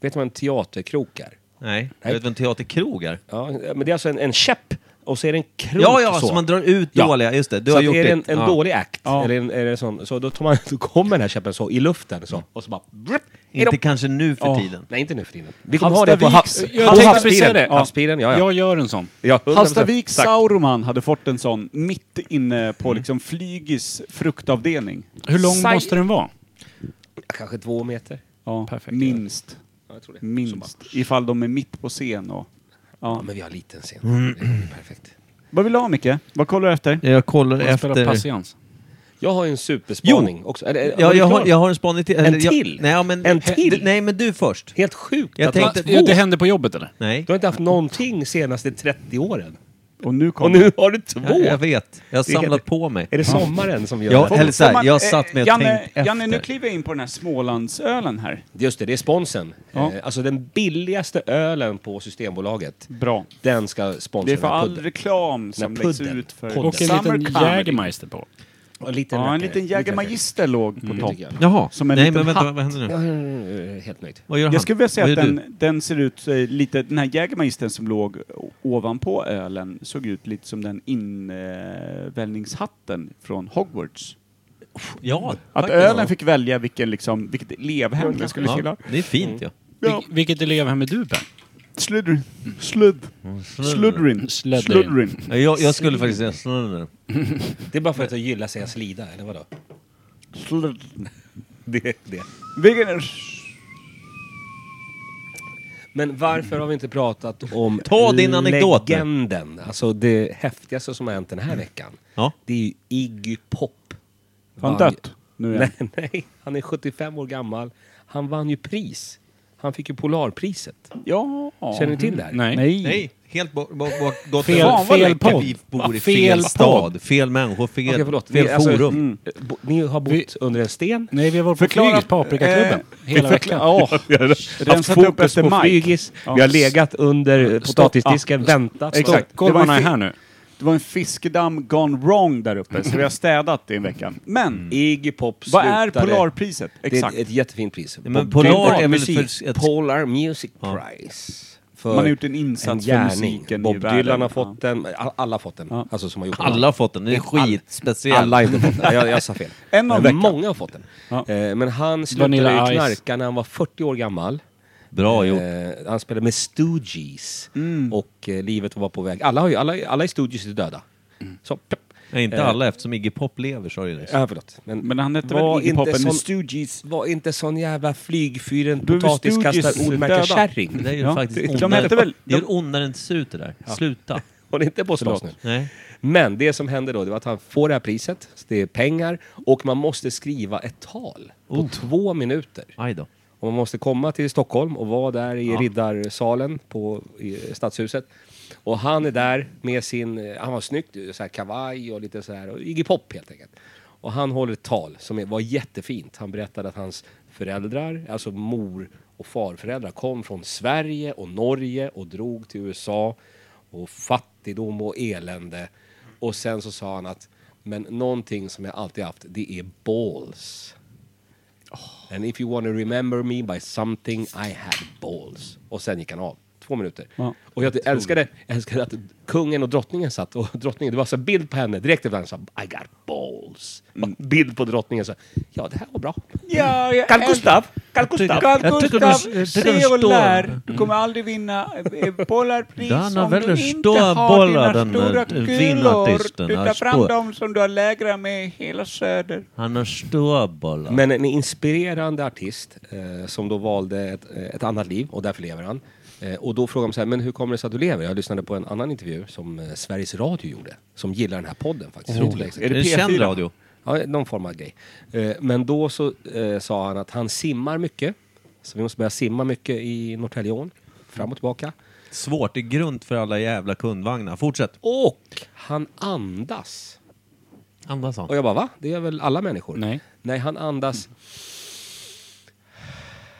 Vet du vad en teaterkrok är?
Nej, jag
Nej.
vet vem teaterkrog är?
Ja, men det är alltså en, en käpp och så är det en krok
Ja, ja,
så.
så man drar ut
Ja.
dåliga, just det. Du
så
har
att
gjort
är det en,
ditt.
en
ja.
dålig akt,
Ja.
eller en, är det sån, så då, tar man, då kommer den här käppen så i luften så, och så bara... Brupp,
Inte kanske nu för
Ja.
tiden.
Nej, inte nu för tiden. Vi kommer ha det på
Hallstaviks-
havs,
Alltså, Jag
på
tänkte precis säga
havspiren.
det. Ja.
havspiren. Ja, ja.
Jag gör en sån.
ja 100%.
Hastaviks
Exakt.
Sauroman hade fått en sån mitt inne
Mm.
på liksom flygis fruktavdelning.
Hur lång
Saj-
måste den vara?
Kanske två meter.
Ja,
Perfekt.
minst.
Ja, jag tror
Mm.
det. Så bara,
Minst. Ifall de är mitt på scen och...
ja, men vi har en liten scen. Det är Perfekt.
Vad vill du ha Micke? Vad kollar du efter?
Jag kollar
Man spelar
efter...
patiens.
Jag har ju en superspaning också. Eller, är-
Ja,
du
jag,
klar?
har, jag har en spaning till. eller jag-
till?
Nej, ja, men,
En till?
Nej, men du först.
Helt sjukt
Jag
att man-
tänkte-
Det, det händer på jobbet eller?
Nej,
Du har inte haft någonting senaste 30 åren.
Och nu
Och
kommer...
nu har du två!
jag, jag vet. Jag har
Det är-
samlat på mig.
Är det sommaren som gör
Ja,
det?
eller så här,
Får man-
jag
eh,
satt med och
Janne,
tänkt efter.
Janne, nu kliver jag in på den här Smålandsölen här.
Just det, det är sponsen.
Ja.
Eh, Alltså den billigaste ölen på Systembolaget,
Bra.
den ska sponsra
Det är för
den här
all
pudden.
reklam som
Den här
läggs
pudden.
ut för
Pudden.
Och en
Summer
liten
Comedy.
Jägermeister på.
Och en liten
Ja, en
rackare.
liten Jägermeister låg på
rackare.
topp.
Mm, tycker
Jaha,
Som en
nej
liten
men vänta,
hatt.
vad händer nu?
jag. Jag är eh, Helt nöjd.
Vad gör han?
Jag skulle vilja säga
Vad
att
gör du?
den, den ser ut eh, lite, den här Jägermeistern som låg o- ovanpå ölen såg ut lite som den invällningshatten från Hogwarts.
Ja,
Att
faktiskt.
ölen fick välja vilken, liksom, vilket elevhem den skulle
ja,
gilla.
Det är fint ju.
Ja.
Vil- Vilket elevhem är du Per?
Sluddrin.
Mm.
Sludd. Sluddrin.
Sluddrin.
Sluddrin.
Ja. Jag, jag skulle faktiskt säga snurr.
Det är bara för att jag gillar att säga slida, eller vadå? Det, är det.
Vilken...
Men varför har vi inte pratat om
Ta din anekdot nu.
legenden? Alltså det häftigaste som har hänt den här veckan.
Ja.
Det är ju Iggy Pop.
Har han
Vann-
dött? Nu igen.
Nej, nej, han är 75 år gammal. Han vann ju pris. Han fick ju Polarpriset.
Ja.
Känner ni till det här?
Nej.
Nej.
Nej, helt bort. bort, bort gått
Fel-
över.
fel
Vilka
podd.
Vi bor i
Fel
fel,
podd.
stad, fel människor, fel,
Okej, förlåt.
fel
Ni- alltså,
forum.
mm, bo- Ni har bott
Vi-
under en sten.
Nej, vi har varit på
Förklara-
flyget på Paprikaklubben
Eh,
hela veckan.
förklara-
Haft
Rensat upp
fokus
efter
på
Mike.
flygis.
Ja.
Vi har legat under eh, potatisdisken,
ja.
väntat.
Exakt.
Stopp.
Det var
Golvarna
en
är
fi-
här nu.
Det var en fiskedamm gone wrong där uppe, så vi har städat det i en vecka. Men,
Iggy Pop
vad är
slutade-
Polarpriset? Exakt.
Mm. Det är ett jättefint pris.
Ja, men
Bob
Polar
Dylan
är väl
musik.
för ett-
Polar Music Prize. För
Man har gjort en insats för
gärning.
musiken i
Bob
världen.
Dylan har
Ja.
fått den. All- Alla har fått den. Alltså som har gjort den.
Alla har fått den, den är
Alla-
skitspeciell.
Alla har inte fått den. Jag, jag sa fel.
En av
men
veckan.
många har fått den.
Ja.
Eh, men han slutade ju
Vanilla Ice.
knarka när han var 40 år gammal.
Bra gjort.
Eh, han spelade med Stooges.
Mm.
Och eh, livet var på väg. Alla, har ju, alla, alla i Stooges är döda. Så,
Nej, inte
eh,
alla eftersom Iggy Pop lever, sa du nyss.
Ja, förlåt.
men han hette
Var
väl Iggy
inte
Pop and the
sån-
Stooges?
Var inte sån jävla flygfyren
Då är vi
potatiskastare
Stooges döda.
Det
ordmärkarkärring.
där är ju
Ja,
faktiskt
de
ondare.
hette väl-
det är
de-
ondare än det ser ut det där. Sluta.
Håll inte på att slåss nu.
Nej.
Men det som hände då, det var att han får det här priset, så det är pengar och man måste skriva ett tal på två minuter.
Aj då.
Och man måste komma till Stockholm och vara där i Riddarsalen på i Stadshuset. Och han är där med sin, eh, han var snyggt, så här kavaj och lite så här, och Iggy Pop helt enkelt. Och han håller ett tal som är- var jättefint. Han berättade att hans föräldrar, alltså mor och farföräldrar kom från Sverige och Norge och drog till USA. Och fattigdom och elände. Och sen så sa han att, men någonting som jag alltid haft, det är balls. And if you wanna remember me by something I had balls. Och sen gick han av. Två minuter.
Ja.
och jag älskade, älskade att kungen och drottningen satt och drottningen, det var så här bild på henne direkt efter varandra. så här, I got balls. Bild på drottningen så här, ja det här var bra.
Ja, jag
Carl Gustav,
Carl Gustaf.
Jag tycker- jag tycker du- jag tycker du
se och
står.
lär. Du kommer aldrig vinna eh, bollarpris
Dan har
om du
väldigt
inte
stora
har
bollar,
dina
den där
stora kulor.
vinnartisten.
Du
Han
tar fram
står.
dem som du har lägrat med i hela söder.
Han har stora bollar.
Men en inspirerande artist eh, som då valde ett, eh, ett annat liv och därför lever han. Eh, och då frågade de så här, men hur kommer det sig att du lever? Jag lyssnade på en annan intervju som eh, Sveriges Radio gjorde, som gillar den här podden faktiskt. Roligt.
är det känd radio?
Ja, någon form av grej. Eh, men då så eh, sa han att han simmar mycket. Så vi måste börja simma mycket i Norrtäljeån, fram och tillbaka.
Svårt, det är grunt för alla jävla kundvagnar. Fortsätt.
Och han andas.
Andas han.
Och jag bara, va? Det är väl alla människor?
Nej.
Nej, han andas...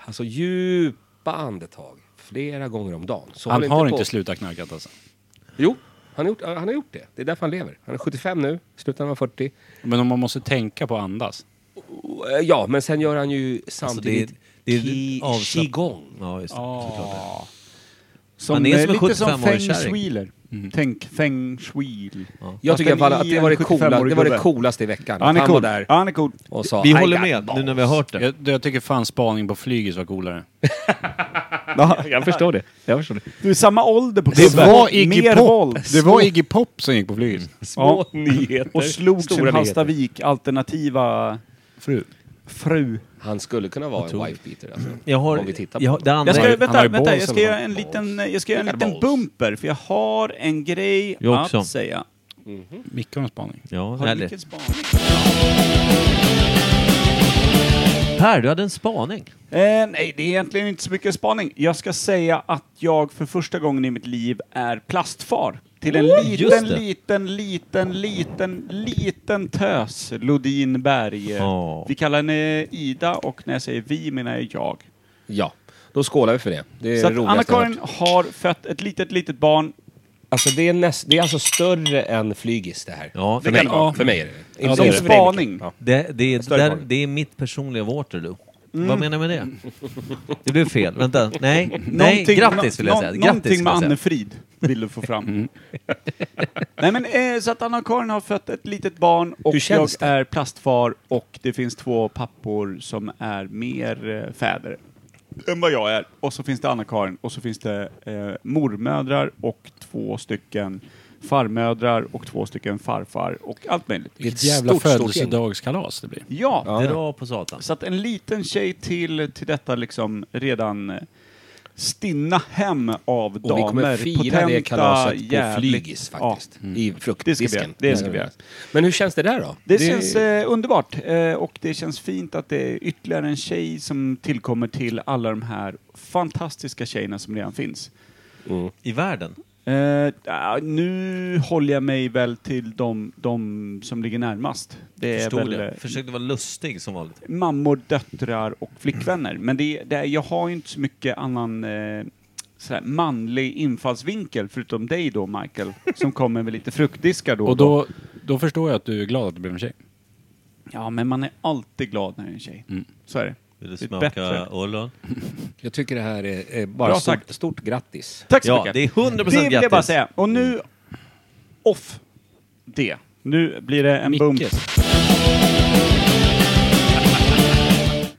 Alltså djupa andetag. Flera gånger om dagen. Så
Han
håll
har
på-
inte slutat knarkat alltså.
Jo, han har, gjort, han har gjort det. Det är därför han lever. Han är 75 nu, slutade när han var 40.
Men om man måste tänka på att andas.
Och, eh, Ja, men sen gör han ju samtidigt
Alltså, det är
qi-
avslapp-
qigong.
Ja, just det. Såklart.
Som,
Man är som en
lite som
75-årig
feng
kärring.
shuiler. Tänk feng Alltså, shui.
Mm. Jag tycker i alla fall att det var det, coola, det var det
coola.
coolaste i veckan.
Han
Att
är
han var
cool.
där
Ja, Han är cool.
och sa
Vi
"I
håller
got
med nu
balls."
när vi har hört det.
Jag, jag tycker fan spaning på flyget var coolare.
Jag förstår det. Jag förstår det.
Du är samma ålder på
Det
gubben.
var Iggy
Mer
Pop.
våld.
Det var Iggy Pop som gick på flyget.
Mm.
Små nyheter.
Och slog sin
stora nyheter.
Hallstavik alternativa
Fru.
fru.
Han skulle kunna vara en wifebeater alltså.
Jag har,
Om vi tittar på
jag, har- det andra
Jag ska,
är,
han
vänta,
har ju
vänta, jag
balls
ska göra
eller
en
något.
liten, jag ska göra en
Vilka
liten
balls?
bumper, för jag har en grej
Jag också.
att säga.
Micke har en spaning.
ja,
Har du
härligt.
mycket span?
Per, du hade en spaning.
Eh, nej, det är egentligen inte så mycket spaning. Jag ska säga att jag för första gången i mitt liv är plastfar. Till en liten,
just det.
liten, liten, liten, liten tös, Lodin Berg.
Ja.
Vi kallar henne Ida och när jag säger vi menar jag jag.
Ja, då skålar vi för det. Det är
Så
det
att
roligaste jag har
Anna-Karin
hört.
har fött ett litet, litet barn.
Alltså det är, näst, det är alltså större än flygis det här.
Ja,
för,
det
mig.
kan
Ja. för mig är det det.
Som
Inte för dig,
spaning.
Micke. Ja.
Det, det, är,
Större
där,
fråga.
det är mitt personliga Waterloo.
Mm.
Vad menar jag med det? Det blev fel. Vänta. Nej, nej.
Någonting-
grattis vill jag
nå-
säga.
Någonting
Grattis vill
med
jag säga. Mm.
Anne-Frid vill du få fram. Nej men eh, så att Anna-Karin har fött ett litet barn och
Hur
jag
känns
är plastfar och det finns två pappor som är mer eh, fäder än vad jag är. Och så finns det Anna-Karin och så finns det eh, mormödrar och två stycken farmödrar och två stycken farfar och allt möjligt.
Det är ett
Vilket jävla
stort, stort gäng.
födelsedagskalas det blir.
Ja,
Dra på satan.
så att en liten tjej till, till detta liksom redan eh, stinna hem av damer.
Och vi kommer fira
potenta,
det kalaset på
jävligt-
flygis faktiskt.
Ja. Mm.
I fruktdisken.
Det ska vi göra. Det ska vi göra.
Men hur känns det där då?
Det, känns eh, underbart eh, och det känns fint att det är ytterligare en tjej som tillkommer till alla de här fantastiska tjejerna som redan finns.
I världen?
Eh, ah, nu håller jag mig väl till de, de som ligger närmast. Det är
Förstod
väl
jag.
eh,
Försökte vara lustig som vanligt.
mammor, döttrar och flickvänner. Men det, det, jag har ju inte så mycket annan eh, sådär manlig infallsvinkel, förutom dig då Michael, som kommer med lite fruktdiskar då
Och då, då förstår jag att du är glad att det blev en tjej.
Ja, men man är alltid glad när det är en tjej.
Mm.
Så är det.
Vill
Det
du
är
smaka
bättre.
ollon?
Jag tycker det här är, är bara
Bra
stort,
sagt.
stort grattis.
Tack så
Ja,
mycket.
det är 100%
Det vill jag
grattis. Mm.
bara säga. Och nu, off det. Nu blir det en bump.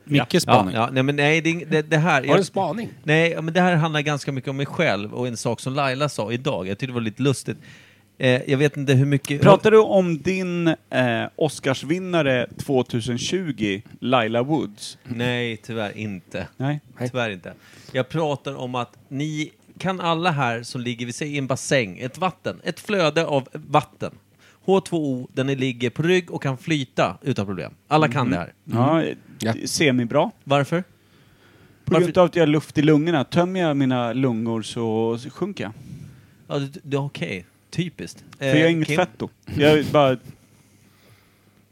Mickes
Ja,
spaning.
ja, nej, men nej, det, är ing- det, det här...
Har du en
Jag,
spaning?
nej, ja, men det här handlar ganska mycket om mig själv och en sak som Laila sa idag. Jag tyckte det var lite lustigt. Eh, jag vet inte hur mycket...
Pratar du om din eh, Oscarsvinnare 2020, Laila Woods?
Nej, tyvärr inte.
Nej.
Tyvärr inte. Jag pratar om att ni kan alla här som ligger, vi säger i en bassäng, ett vatten, ett flöde av vatten. H2O, den är- ligger på rygg och kan flyta utan problem. Alla
Mm.
kan det här.
Ja,
Ja.
semibra.
Varför?
På grund av att jag har luft i lungorna. Tömmer jag mina lungor så sjunker jag.
Ja, det, det, Okej, typiskt.
För jag har
Eh,
inget fett då. Jag bara...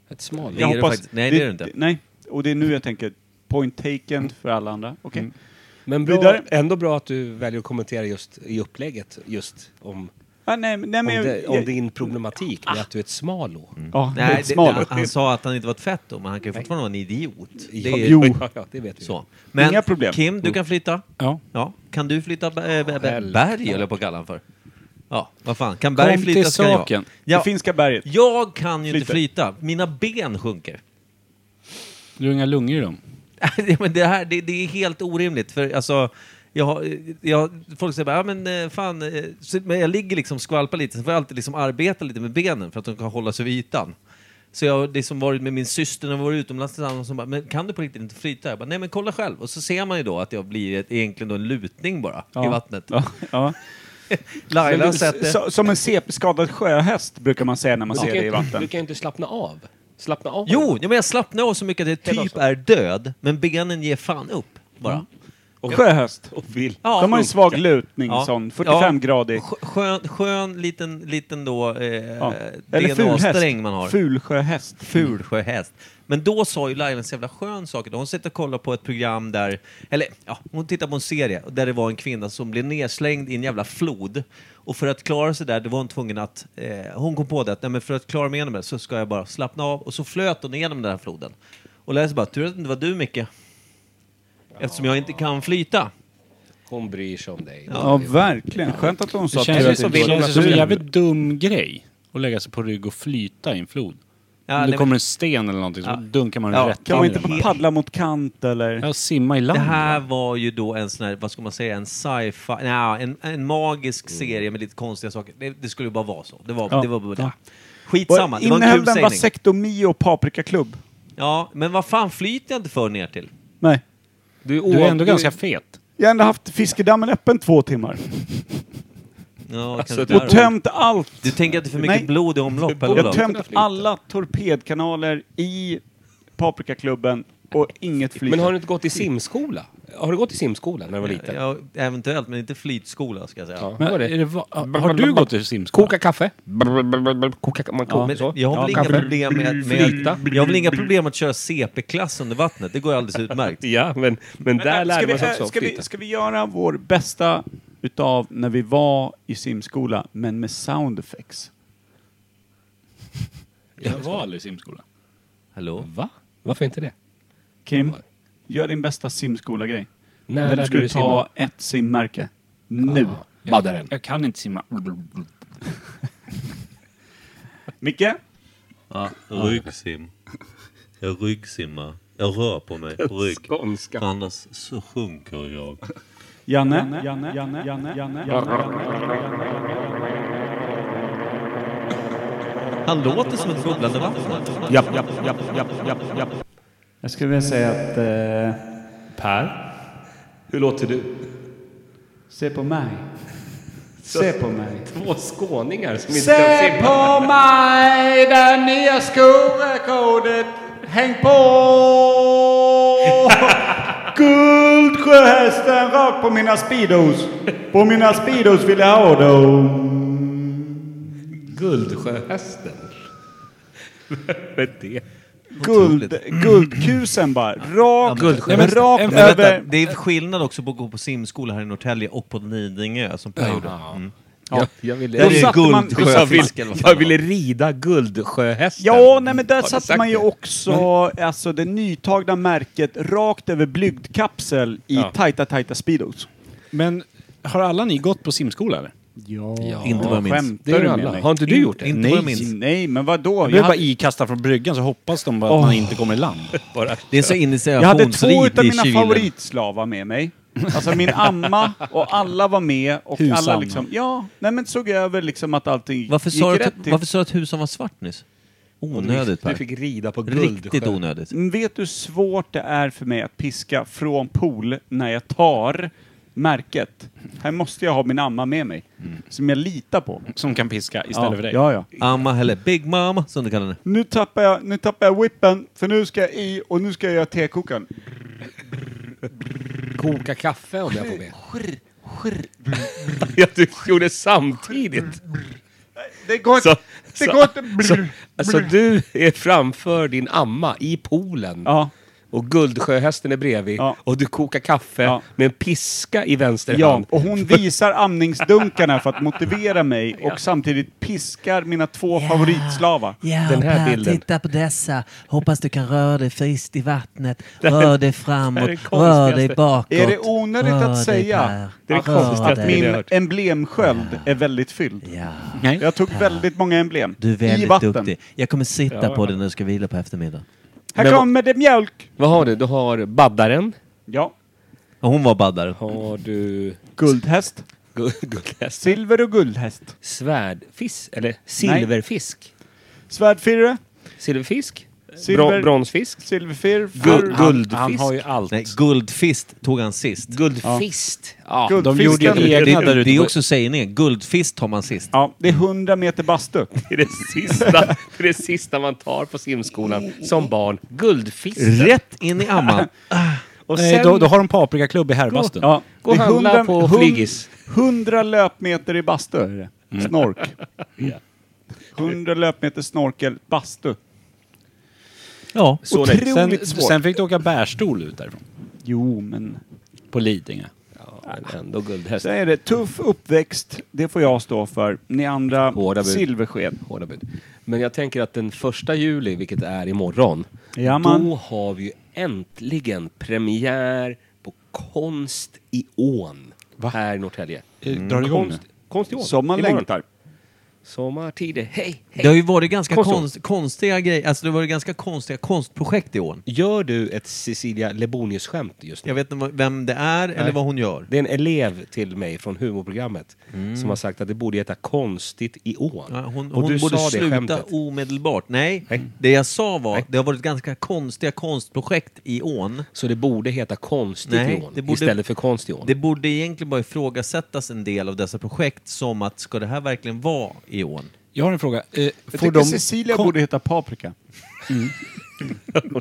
Ett smal.
Det
Jag
är det
hoppas...
faktiskt. Nej, det är det inte.
Nej, och det är nu jag tänker. Point taken för alla andra. Okej.
Mm.
Men bra,
Vidare.
ändå bra att du väljer att kommentera just i upplägget just om,
Ah, nej, men- nej,
om,
men jag,
det, om
jag, Ah!
din problematik med att du är ett smalo.
ja,
Nej,
ett
det, alltså-
smal.
han, han sa att han inte var ett fett då, men han kan ju fortfarande vara en idiot. Det är
Jo.
Ja, ja, det vet vi.
så. Men
Inga problem.
Kim, du kan flytta.
Ja.
Ja. Kan du flytta äh,
självklart.
berg, eller på att kalla han för? Ja, vad fan. Kan berg
till
flyta ska jag.
saken.
Ja.
Det finska berget.
Jag kan ju inte
Flyter.
flyta. Mina ben sjunker.
Du har inga lungor i dem.
Ja, men det, här, det, det är helt orimligt. För alltså, jag, har- jag, folk säger bara, ja men eh, fan, eh, så- men jag ligger liksom och skvalpar lite, så får jag alltid liksom arbeta lite med benen för att de kan hålla sig vid ytan. Så jag har liksom varit med min syster när vi var utomlands tillsammans som bara, men kan du på riktigt inte flyta? Jag bara, nej men kolla själv. Och så ser man ju då att jag blir ett, egentligen då en lutning bara i vattnet.
Ja, ja.
Laila har
Men
sett det.
så- Som en CP-skadad sjöhäst brukar man säga när man
Du
ser
kan
det
ju
i
inte,
vatten.
du kan ju inte slappna av. Slappna av.
Jo, ja, men jag slappnar av så mycket att jag typ är död, men benen ger fan upp bara.
Sjöhäst.
Och vill.
Ja.
De har en svag lutning,
Ja. Eh,
sån 45-gradig.
Skö- Skön, skön liten, liten då eh,
Ja. Eller
DNA-sträng man har.
fulhäst. Fulsjöhäst.
Fulsjöhäst. Men då sa ju Laila en så jävla skön sak. Hon satt och kollade på ett program där, eller ja, hon tittade på en serie där det var en kvinna som blev nedslängd i en jävla flod. Och för att klara sig där, det var hon tvungen att, eh, hon kom på det att nej, men för att klara mig igenom det så ska jag bara slappna av. Och så flöt hon igenom den här floden. Och Laila sa bara, tur att det inte var du Micke. Eftersom jag inte kan flyta.
Hon bryr sig om dig.
Ja, verkligen. Skönt att hon sa
Det
tur
känns
att
ju som,
det inte var
känns som en
du.
jävligt dum grej att lägga sig på rygg och flyta i en flod.
Ja,
Om
nej,
det
men-
kommer en sten eller någonting så dunkar man
Ja,
rätt
Kan
in
man
i
inte
den.
bara paddla mot kant eller?
Ja, simma i land.
Det här var ju då en sån här, vad ska man säga, en sci-fi, nej, en, en magisk
Mm.
serie med lite konstiga saker. Det, det skulle ju bara vara så. Det var,
Ja.
det var bara
Ja.
Skitsamma, det var en
Innehöll
kul
den
sägning.
vasektomi och paprikaklubb?
Ja, men vad fan flyter jag inte för ner till?
Nej.
Du är,
Du är ändå
du-
ganska fet.
Jag har ändå haft fiskedammen öppen två timmar.
Ja,
Alltså,
kanske
det-
där.
Och tömt allt.
du tänker att det är för mycket
Nej.
blod i omlopp? eller
Jag har
vadå?
tömt alla torpedkanaler i paprikaklubben och inget flyter.
Men har du inte gått i simskola? Har du gått i simskola när du var liten?
Ja, eventuellt, men inte flytskola ska jag säga.
Ja.
Men,
var det?
är det va- har du gått i simskola?
Koka kaffe. Brr, brr, brr, brr, Koka, man kokar
Men
så.
jag har väl
Ja,
inga
kaffe.
problem med, att-
Flyta.
med Jag har väl inga problem att köra CP-klass under vattnet. Det går alldeles utmärkt.
Ja, men, men där
Äh,
lärde
vi,
man sig
äh,
också
ska, vi,
flyta.
ska vi göra vår bästa utav när vi var i simskola, men med sound effects?
Jag var aldrig i simskola.
Hallå?
Va? Varför inte det?
Kim, gör din bästa simskola-grej.
När
När du
lärde
skulle
dig simma? Ah.
ta ett simmärke. Nu.
Baddaren.
Jag kan inte simma.
Micke?
Ja, ryggsim. Jag ryggsimmar. Jag rör på mig på rygg.
Skånska.
Annars så sjunker jag.
Janne? Janne? Janne? Janne? Janne? Janne?
Han låter som ett bubblande vatten.
Japp, japp, japp, japp, japp, japp.
Jag skulle vilja säga att... Eh,
Per? Hur låter du?
se på mig. Se på mig.
Två skåningar som inte kan simma.
på mig, det nya skorekordet. Häng på! Guldsjöhästen rakt på mina speedos. På mina speedos vill jag ha dem.
Guldsjöhästen. Vad är det?
Guld, guldkusen bara. Rakt,
Nej, men-
rakt
Men
över...
vänta, det är skillnad också på att gå på simskola här i Norrtälje och på Nidingö som Per gjorde. Mm.
Jag, jag ville...
Där
Då
är det
satte man-
jag, ville,
guldsjöfisk eller vad fan
jag
det var.
ville rida Guldsjöhästen.
Ja, nej men där
Har du
satte
sagt
man ju
det?
också alltså, det nytagna märket rakt över blygdkapsel i tajta, tajta speedos.
Men har alla ni gått på simskola eller?
Ja,
Inte vad jag minns.
Det gör
du
ju
med
alla.
mig?
Har inte du gjort det?
Inte vad jag minns.
Nej, men vadå?
Jag blev
Jag
bara
hade,
ikastad från bryggan så hoppas de bara att man inte kommer i land.
Bara.
Det är så initiationsrikt
jag hade två utav
i
mina
kylen.
favoritslavar med mig. Alltså min amma och alla var med och alla
Husanna.
liksom, ja, nej men såg över liksom att allting
Varför
gick
sa, du
rätt
att, varför sa du att husan var svart nyss? Onödigt
Du
Per.
fick rida på
Riktigt
Guldsjö.
onödigt.
Mm, Vet du hur svårt det är för mig att piska från pool när jag tar märket? Här måste jag ha min amma med mig, som jag litar på.
Som kan piska istället
Mm. ja.
för dig.
Ja, ja.
Amma eller Big Mama som du kallar henne.
Nu tappar, jag, nu tappar jag whippen, för nu ska jag i och nu ska jag göra tekokaren.
Koka kaffe om jag får be. Ja, du gjorde samtidigt.
Det går
Så,
inte! Det går inte!
så, så du är framför din amma i poolen.
Ja.
Och Guldsjöhästen är bredvid.
Ja.
Och du kokar kaffe
Ja.
med en piska i vänster
Ja,
hand.
och hon visar amningsdunkarna för att motivera mig och samtidigt piskar mina två favoritslavar.
Ja,
Den här bilden.
titta på dessa. Hoppas du kan röra dig friskt i vattnet. Rör dig framåt,
det är det konstigaste.
bakåt.
Är det onödigt
Rör
att
dig, Per.
säga
Det är det
Rör
konstigaste
dig.
jag har
min
hört.
emblemsköld är väldigt fylld?
Ja.
Nej.
Jag tog väldigt många emblem.
Du är
I
väldigt
vatten.
duktig. Jag kommer sitta på dig när du ska vila på eftermiddagen.
Här
Men vad-
kommer det mjölk!
Vad har du? Du har baddaren.
Ja.
Hon var baddare.
Har du
Guldhäst.
gu- guldhäst?
Silver och guldhäst.
Svärdfisk? Eller silverfisk?
Svärdfirre.
Silverfisk?
Silver-
Bron- bronsfisk?
Silverfirr.
Guld-
furr-
guldfisk.
Han har ju allt.
Nej, guldfist tog han sist.
Guldfist? Ja.
de gjorde ju
Guldfisken.
egna där
Det, det är
ute.
också sägningen. Guldfist tar man sist.
Ja, det är 100 meter bastu.
Det är det, sista, det är det sista man tar på simskolan som barn. Guldfisken.
Rätt in i amman.
Och
Nej, då, då har de paprikaklubb i herrbastun.
ja,
Gå och
det är
handla
100
på
hund-
Flygis.
100 löpmeter i bastu är det. Snork. 100 löpmeter snorkel, bastu.
Ja.
Så länge.
Otroligt
Sen,
svårt.
sen fick du åka bärstol ut därifrån.
Jo, men...
På Lidingö.
Ja, men ändå guldhäst.
Så är det. Tuff uppväxt, det får jag stå för. Ni andra,
Hårda bud.
silversked.
Hårda bud. Men jag tänker att den första juli, vilket är imorgon,
Jaman.
då har vi ju äntligen premiär på Konst i ån här i Norrtälje.
Mm.
Drar det igång nu?
Konst, konst i ån.
Som man
imorgon.
längtar.
Sommartider. Hej,
Det
hej.
har ju varit ganska
Konst-
konst, konstiga grejer. Alltså det har varit ganska konstiga konstprojekt i år.
Gör du ett Cecilia Lebonius-skämt just nu?
Jag vet inte vad- vem det är eller vad hon gör.
Det är en elev till mig från humorprogrammet som har sagt att det borde heta Konstigt i ån.
Mm. Ja, Hon,
Och
hon
du
borde
sa det
sluta
skämtet.
omedelbart. Nej,
Nej.
det jag sa var
Nej.
att det har varit ganska konstiga konstprojekt i ån.
Så det borde heta Konstigt
Nej,
i ån
det borde-
istället för Konst i ån.
Det borde egentligen bara ifrågasättas en del av dessa projekt som att ska det här verkligen vara i ån?
Jag har en fråga. Eh,
Jag
får
tycker
de,
Cecilia
kon-
borde heta Paprika.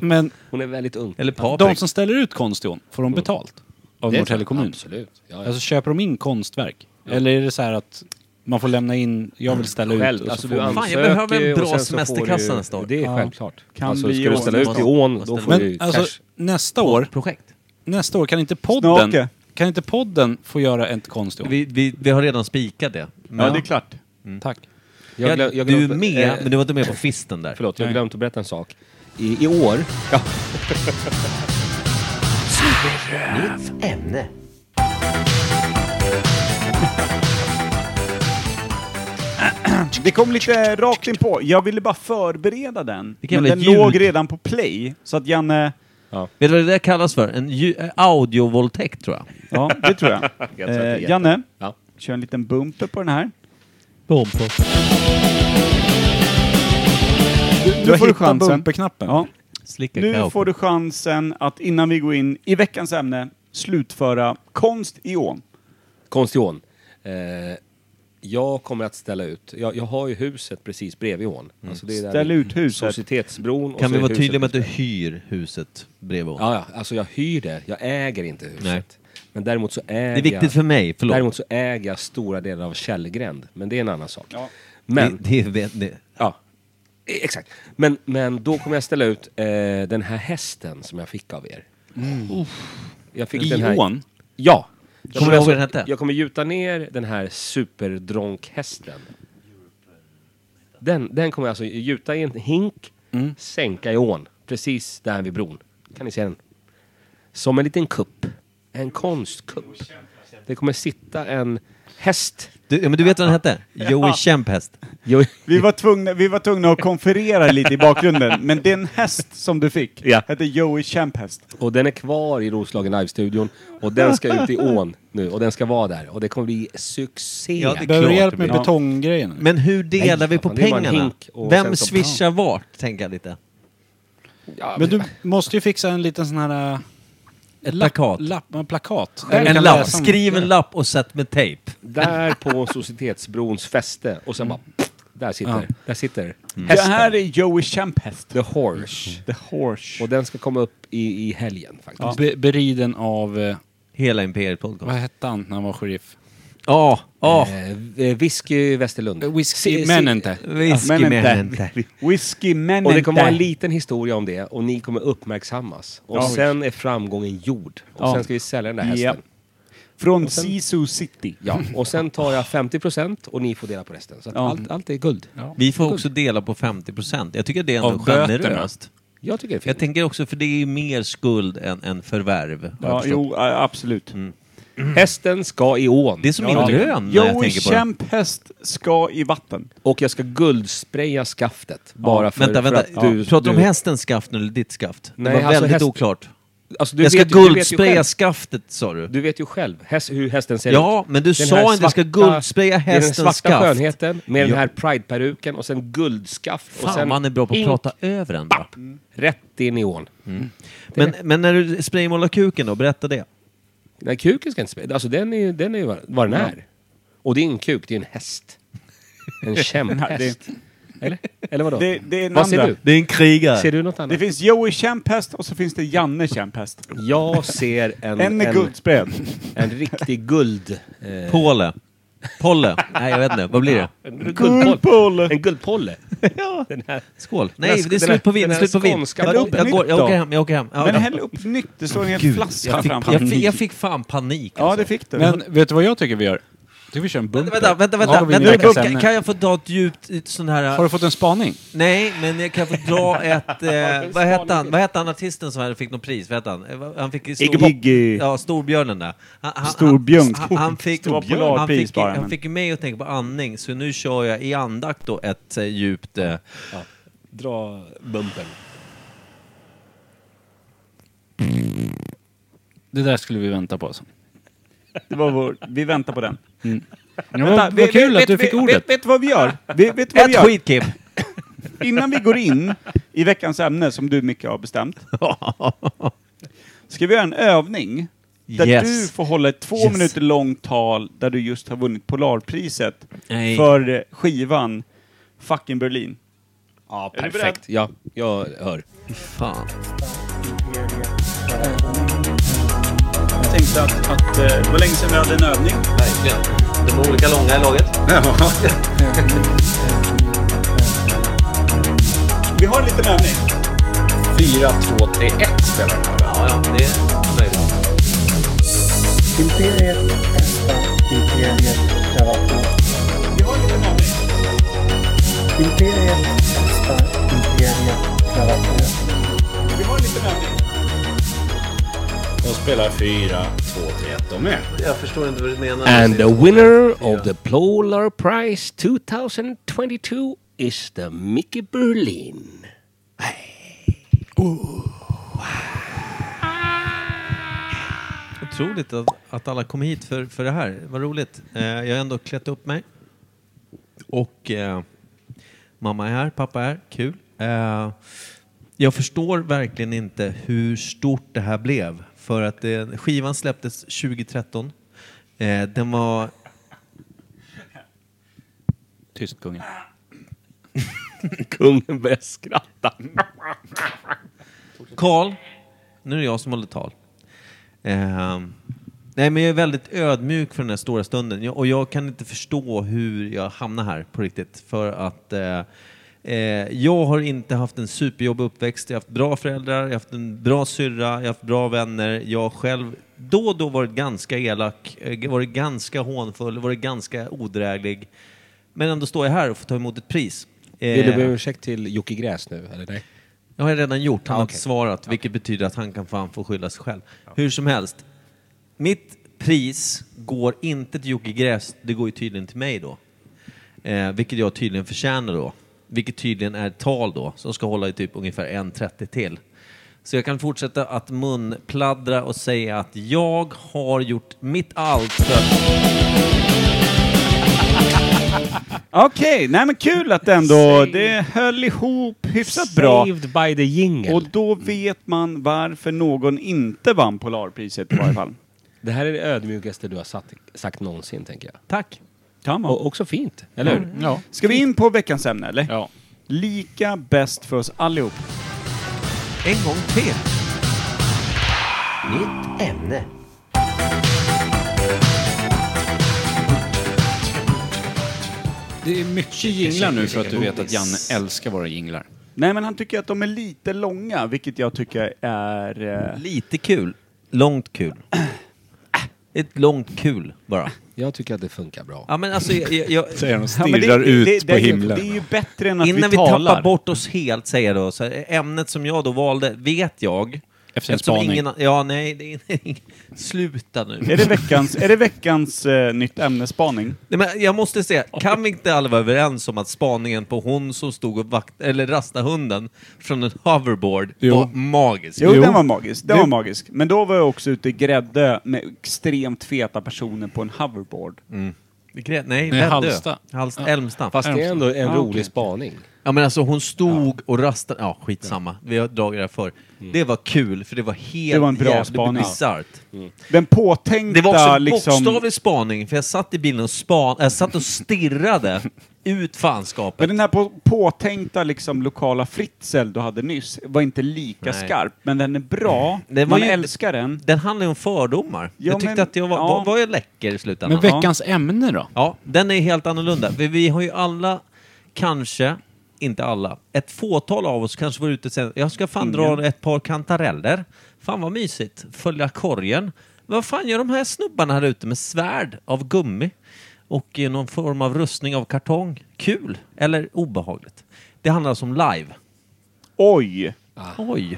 men
Hon är väldigt ung.
Eller
de
Patrik?
som ställer ut konst i ån, får de betalt? Av
Det är
Norrtälje
sant,
kommun?
Absolut. Ja, ja.
Alltså köper de in konstverk? Eller är det så här att man får lämna in, jag vill ställa ut
Själv,
och så
alltså
får
du
man...
Fan,
ansöker
jag behöver en
ju och
bra
sen så får
semesterkassa
du-
nästa år.
Det är självklart.
Kan
alltså,
bli
ska du
ån.
ställa ut i
Måste-
ån,
måste-
då får du ju
Men alltså,
cash.
nästa år,
projekt.
nästa år kan inte podden,
Snake.
kan inte podden få göra ett konst i ån?
Vi, vi, vi har redan spikat det. Men,
Ja, det är klart.
Tack.
Ja,
Jag glöm- jag
du är
glömde-
med,
eh,
men du var inte med på fisten där.
Förlåt, jag
Nej.
har glömt att berätta en sak. I, i år... Ja.
Ämne.
Det kom lite rakt in på. Jag ville bara förbereda den.
Vilken
Men den
jävla ljud.
låg redan på play. Så att Janne...
Vet du vad det där kallas för? En ju- eh, audiovåldtäkt tror jag.
Ja, det tror jag.
tror att det är
eh, Janne,
Ja.
kör en liten bumper på den här. Du,
Du
nu får du
har hittat
chansen.
bumperknappen.
Ja.
Slicka
Nu
kakao.
får du chansen att innan vi går in i veckans ämne slutföra konst i ån.
Konst i ån. Eh, jag kommer att ställa ut... Jag, jag har ju huset precis bredvid ån. Alltså, det är där
Ställ
vid
ut huset.
Societetsbron. och
Kan
så
vi
är
vara
huset
tydliga med att du
precis
hyr huset bredvid oss?
där. Ja, ja. Alltså jag hyr det. Jag äger inte huset.
Nej.
Men däremot så äger
Det är viktigt för mig, förlåt.
Däremot så äger jag stora delar av Källgränd. Men det är en annan sak.
Ja.
Men...
Det, det, det, det.
Ja, e- exakt. Men, men då kommer jag ställa ut eh, den här hästen som jag fick av er.
Mm.
Jag fick
I
den här...
ån?
Ja. Jag
Kommer du ihåg vad den
alltså-
hette?
Jag kommer gjuta ner den här superdronkhästen. Den, den kommer jag alltså gjuta i en hink,
Mm.
sänka i ån. Precis där vid bron. Kan ni se den? Som en liten kupp. En konstkupp. Det kommer sitta en häst.
Du, ja, men du vet vad den hette? Joey Kämphäst.
Jo,
Vi var, tvungna, vi var tvungna att konferera lite i bakgrunden, men den häst som du fick
Ja.
hette Joey Kämphäst.
Och den är kvar i Roslagen Live-studion. Och den ska ut i ån nu. Och den ska vara där. Och det kommer bli succé.
Ja, det-
Behöver du
klart
hjälp
det
med
blir.
betonggrejen?
Men hur delar
Nej,
vi på
fan, det är bara en
pengarna?
hink och
Vem
sen så-
swishar vart, tänker jag lite.
Men du måste ju fixa en liten sån här... eh,
Ett
lapp-
plakat.
Lapp, en plakat. Där du
En
kan
lapp.
läsa om-
Skriv en lapp och sätt med tejp.
Där på Societetsbrons fäste. Och sen bara... Där sitter,
Ja.
där sitter
Det
Mm. hästen.
här är Joey Kämphäst.
The Horse.
The horse.
Och den ska komma upp i, i helgen faktiskt.
Be, beriden av, eh,
Hela Imperiet
vad
Podcast.
hette han när han var sheriff?
Ja, ja.
Eh, v- Whisky Västerlund.
Whisky, men inte.
Whisky
Men
med
inte.
inte.
Whisky men
Och det kommer vara en
inte.
liten historia om det och ni kommer uppmärksammas. Och
Ja.
sen är framgången gjord. Och
Ja.
sen ska vi sälja den där hästen.
Japp. Från
sen-
Sisu City.
Ja. Och sen tar jag 50% och ni får dela på resten. Så att
Ja.
allt, allt är guld.
Vi får också dela på 50 procent. Jag tycker det är ändå
Av böterna.
generöst.
Jag tycker det är fint.
Jag tänker också, för det är ju mer skuld än, än förvärv. har jag
Ja,
förstått.
Mm.
jo, ä, absolut.
Hästen ska i ån.
Det är som min lön när jag
Joey
tänker på det.
Kemp häst ska i vatten.
Och jag ska guldspraya skaftet. Bara för,
vänta, vänta.
för att du...
Pratar du om
du-
hästens skaft nu eller ditt skaft?
Nej,
det var
alltså
väldigt
häst-
oklart.
Alltså,
jag ska
vet ju- du vet ju själv.
guldspraya skaftet sa du.
Du vet ju själv häst, hur hästen ser
Ja,
ut.
men du
Den
sa
här
inte att jag ska
svarta-
guldspreja
det är Den
hästens
svarta
skaft.
skönheten med den
Ja.
här pride-peruken och sen guldskaft. och
Fan,
sen
man är bra på att
ink
prata över ändå.
Rätt in i ån.
Men, men när du spraymålar kuken då, berätta det.
Nej, kuken ska inte spela. Alltså den är ju den är ju vad vad den är. Och det är en kuk, det är en häst. En kämphäst. Eller? Eller vadå?
Det, det är en
Vad ser
andra.
du?
Det är en krigare.
Ser du något
Det
annat?
finns Joey Kemp häst och så finns det Janne Kemp häst.
Jag ser en...
En med
en,
guldspäd.
en riktig guld... Eh,
Påle. Polle. Nej, jag vet inte. Vad blir det?
en guldpolle. En guldpolle. Den här.
Skål.
Den
Nej,
här-
det är
den här-
slut på vin.
den här
Slut på vin.
skånska
Jag,
poppen.
jag, går, jag åker hem. Jag åker hem. Ja,
Men
ja.
häll upp nytt, det står en hel flaska
jag, fick,
framför.
jag, fick, jag fick fan panik.
Ja,
Alltså.
det fick du.
Men vet du vad jag tycker vi gör? Jag tycker vi kör en bumper.
Vänta, vänta,
Då
vänta.
har vi en
vänta,
veckans
kan,
ämne.
kan jag få dra ett djupt ett sån här...
Har du fått en spaning?
Nej, men jag kan få dra ett... Eh, vad hette han? Vad hette han artisten som hade- fick något pris? Vad hette han? Eh, vad- Han fick... Stor,
Iggy Pop. Iggy.
Ja, Storbjörnen där. Han, han,
Storbjörn.
Han, han fick...
Stor
Han, han,
polarpris
fick,
bara,
han
men-
fick ju mig att tänka på andning, så nu kör jag i andakt då ett eh, djupt... Eh,
Dra bumpen.
Det där skulle vi vänta på. Alltså.
Det var vår, vi väntar på den.
Ja, vad, vad kul att du fick
vet,
ordet.
Vet, vet du vad vi gör? Vet, vet du vad vi
ett
gör?
skit, Kim!
Innan vi går in i veckans ämne, som du mycket har bestämt, ska vi göra en övning där
Yes.
du får hålla ett två
Yes.
minuter långt tal där du just har vunnit Polarpriset
Nej.
för eh, skivan Fucking Berlin.
Ja,
Är du beredd?
perfekt. Ja, jag hör.
Fan.
Jag tänkte att, att eh, det var länge sedan vi hade en övning.
Verkligen. De är olika långa i laget.
Vi har en liten övning.
4, 2, 3, 1 spelar den.
Ja, ja, det är möjligt.
Vi har en liten övning. Vi har en liten övning.
De spelar 4, 2, 3, 1 de med.
Jag förstår inte vad du menar.
And the winner of the Polar Prize 2022 is the Mickey Berlin.
Otroligt att, att alla kom hit för, för det här. Vad roligt. Eh, jag har ändå klätt upp mig. Och eh, mamma är här, pappa är här. Kul. Eh, jag förstår verkligen inte hur stort det här blev. För att eh, skivan släpptes 2013. Eh, den var...
Tyst kungen.
Kungen börjar skratta.
Karl, nu är det jag som håller tal. Eh, nej, men jag är väldigt ödmjuk för den här stora stunden jag, och jag kan inte förstå hur jag hamnar här på riktigt. För att eh, eh, jag har inte haft en superjobbig uppväxt. Jag har haft bra föräldrar, jag har haft en bra syrra, jag har haft bra vänner. Jag har själv då och då varit ganska elak, eh, varit ganska hånfull, varit ganska odräglig. Men ändå står jag här och får ta emot ett pris. Eh,
Vill du be om ursäkt till Jocke Gräs nu, eller nej?
det har jag redan gjort. Han
Ah,
har
okej.
inte svarat, vilket betyder att han kan fan få skylla sig själv. Hur som helst, mitt pris går inte till Jocke Gräs, det går ju tydligen till mig då. Eh, vilket jag tydligen förtjänar då. Vilket tydligen är ett tal då, som ska hålla i typ ungefär 1.30 till. Så jag kan fortsätta att munpladdra och säga att jag har gjort mitt allt för att...
Okej, nej men kul att ändå, det höll ihop hyfsat bra.
Saved by the jingle.
Och då vet man varför någon inte vann Polarpriset i varje fall.
det här är det ödmjukaste du har sagt, sagt någonsin, tänker jag.
Tack!
Kan man.
Och också fint, eller hur?
Ja.
Ska vi in på veckans ämne eller?
ja.
Lika bäst för oss allihop.
En gång till!
Nytt ämne.
Det är mycket jinglar nu för att du vet att Janne älskar våra jinglar.
Nej men han tycker att de är lite långa, vilket jag tycker är... Eh,
Lite kul. Långt kul. Ett långt kul bara.
Jag tycker att det funkar bra.
Ja men alltså, jag, jag,
Säger de
ja, men
stirrar ut på
det, är ju-
himlen.
Det är ju bättre än att
Innan
vi
vi
talar.
tappar bort oss helt, säger jag då, så här, ämnet som jag då valde vet jag
Efter en
Eftersom
spaning.
ingen, Ja, nej, det är Sluta nu.
Är det veckans, är det veckans eh, nytt ämnesspaning?
Nej, men jag måste säga, kan vi inte alla vara överens om att spaningen på hon som stod och vakt, eller rastade hunden från en hoverboard var magisk?
Jo, den var magisk. Den var magisk. Men då var jag också ute i Grädde med extremt feta personer på en hoverboard.
Mm. Gre- nej,
Nej,
Väddö.
Halmstad.
Halmstad.
Ja.
Älmstad.
Fast det är
Älmstad.
ändå en rolig
okej.
spaning.
Ja, men alltså hon stod och rastade. Ja, skitsamma. Vi har dragit det här förr. Det var kul, för det var helt
Mm. Det var en bra
jävligt
spaning.
bisarrt.
Den
Det
påtänkta
var också en
liksom...
bokstavlig spaning, för jag satt i bilen och span, jag satt och stirrade ut fanskapet.
Men den här på, påtänkta liksom lokala fritzel du hade nyss var inte lika
Nej.
skarp, men den är bra.
Den var
Man
ju-
älskar den.
Den handlar ju om fördomar.
Ja,
jag tyckte
men-
att jag var,
ja.
var, var jag läcker i slutändan.
Men veckans ämne då?
Ja, den är helt annorlunda. För vi har ju alla, kanske, inte alla, ett fåtal av oss kanske var ute och säger jag ska fan dra ett par kantareller. Fan vad mysigt. Följa korgen. Vad fan gör de här snubbarna här ute med svärd av gummi och i någon form av rustning av kartong? Kul eller obehagligt? Det handlar alltså om live.
Oj!
Oj.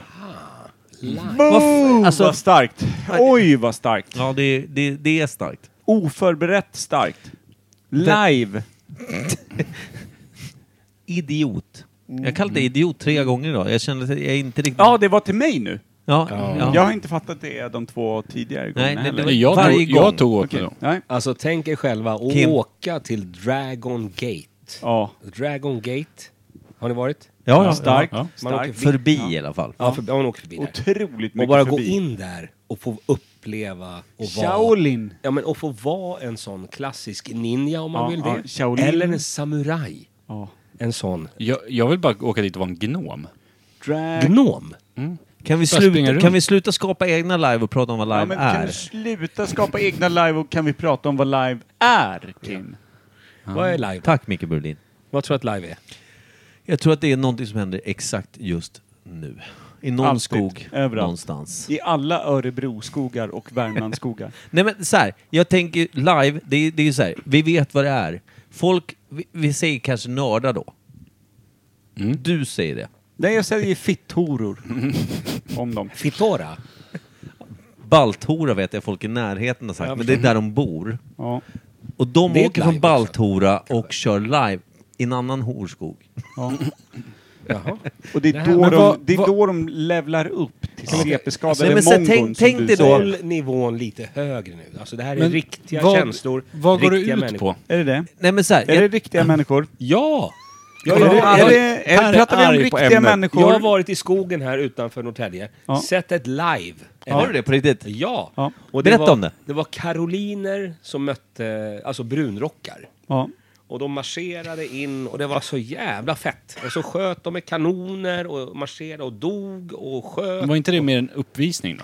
Boom!
Alltså-
vad starkt! Oj, vad starkt!
Ja, det, det, det är starkt.
Oförberett starkt. Live!
Idiot. Jag kallade det idiot tre gånger idag. Jag kände att jag inte riktigt...
Ja, det var till mig nu.
Ja, ja.
Jag har inte fattat det de två tidigare gångerna
nej, det
heller.
var- Jag tog- varje jag gång. tog
åt
Okej.
mig
Nej.
Alltså tänk er själva och
Kim.
åka till Dragon Gate.
Ja.
Dragon Gate. Har ni varit?
Ja, ja.
Starkt.
Ja.
Man åker
starkt.
förbi.
Förbi i alla fall.
Ja, förbi, ja, man åker förbi där.
Otroligt mycket
Och bara
förbi.
gå in där och få uppleva och vara...
Shaolin.
Ja, men och få vara en sån klassisk ninja om man
Ja,
vill
ja,
det.
Shaolin.
Eller en samuraj.
Ja.
En sån.
Jag, jag vill bara åka dit och vara en gnom.
Drag...
Gnom.
Kan vi,
Bara springa
sluta,
runt.
kan vi sluta skapa egna live och prata om vad
Ja,
live
men kan
är?
du sluta skapa egna live och kan vi prata om vad live är, Kim?
Vad är live?
Tack Micke Berlin.
Vad tror du att live är?
Jag tror att det är någonting som händer exakt just nu. I någon
Alltid.
skog
Överallt.
någonstans.
I alla Örebroskogar och Värmlandsskogar.
Nej men så här, jag tänker live, det, är- det är ju så här, vi vet vad det är. Folk, vi, vi säger kanske nördar då. Du säger det.
Nej, jag säger fitthoror om dem.
Fittora?
Balthora vet jag folk i närheten har sagt, men det är där de bor.
Ja.
Och de
Det är
åker
live
från
också.
Balthora och kör live i en annan horskog.
Ja.
Jaha.
Och det är,
Det här-
då,
men
de,
vad-
det är
vad-
då de levlar upp till
Nej,
Alltså,
CP-skadade
men sen
mongon
tänk-
som
tänk
du
dig då-
säger.
Håll nivån lite högre nu. Alltså det här är
Men
riktiga
vad-
känslor.
Vad går det
riktiga
ut
människor.
på?
Är det det?
Nej men så här,
Är det riktiga människor?
Ja!
Är
Jag,
det,
jag, har
är
varit-
det, är
här är
pratar vi om
arg på
riktiga
ämnet.
människor?
jag har varit i skogen här utanför Norrtälje.
Ja.
Sett ett live.
har du det på riktigt?
Ja.
Ja.
Och
Berätta
var,
om det.
Det var karoliner som mötte, alltså brunrockar.
Ja.
Och de marscherade in och det var så jävla fett. Och så sköt de med kanoner och marscherade och dog och sköt.
Var inte det mer en uppvisning då?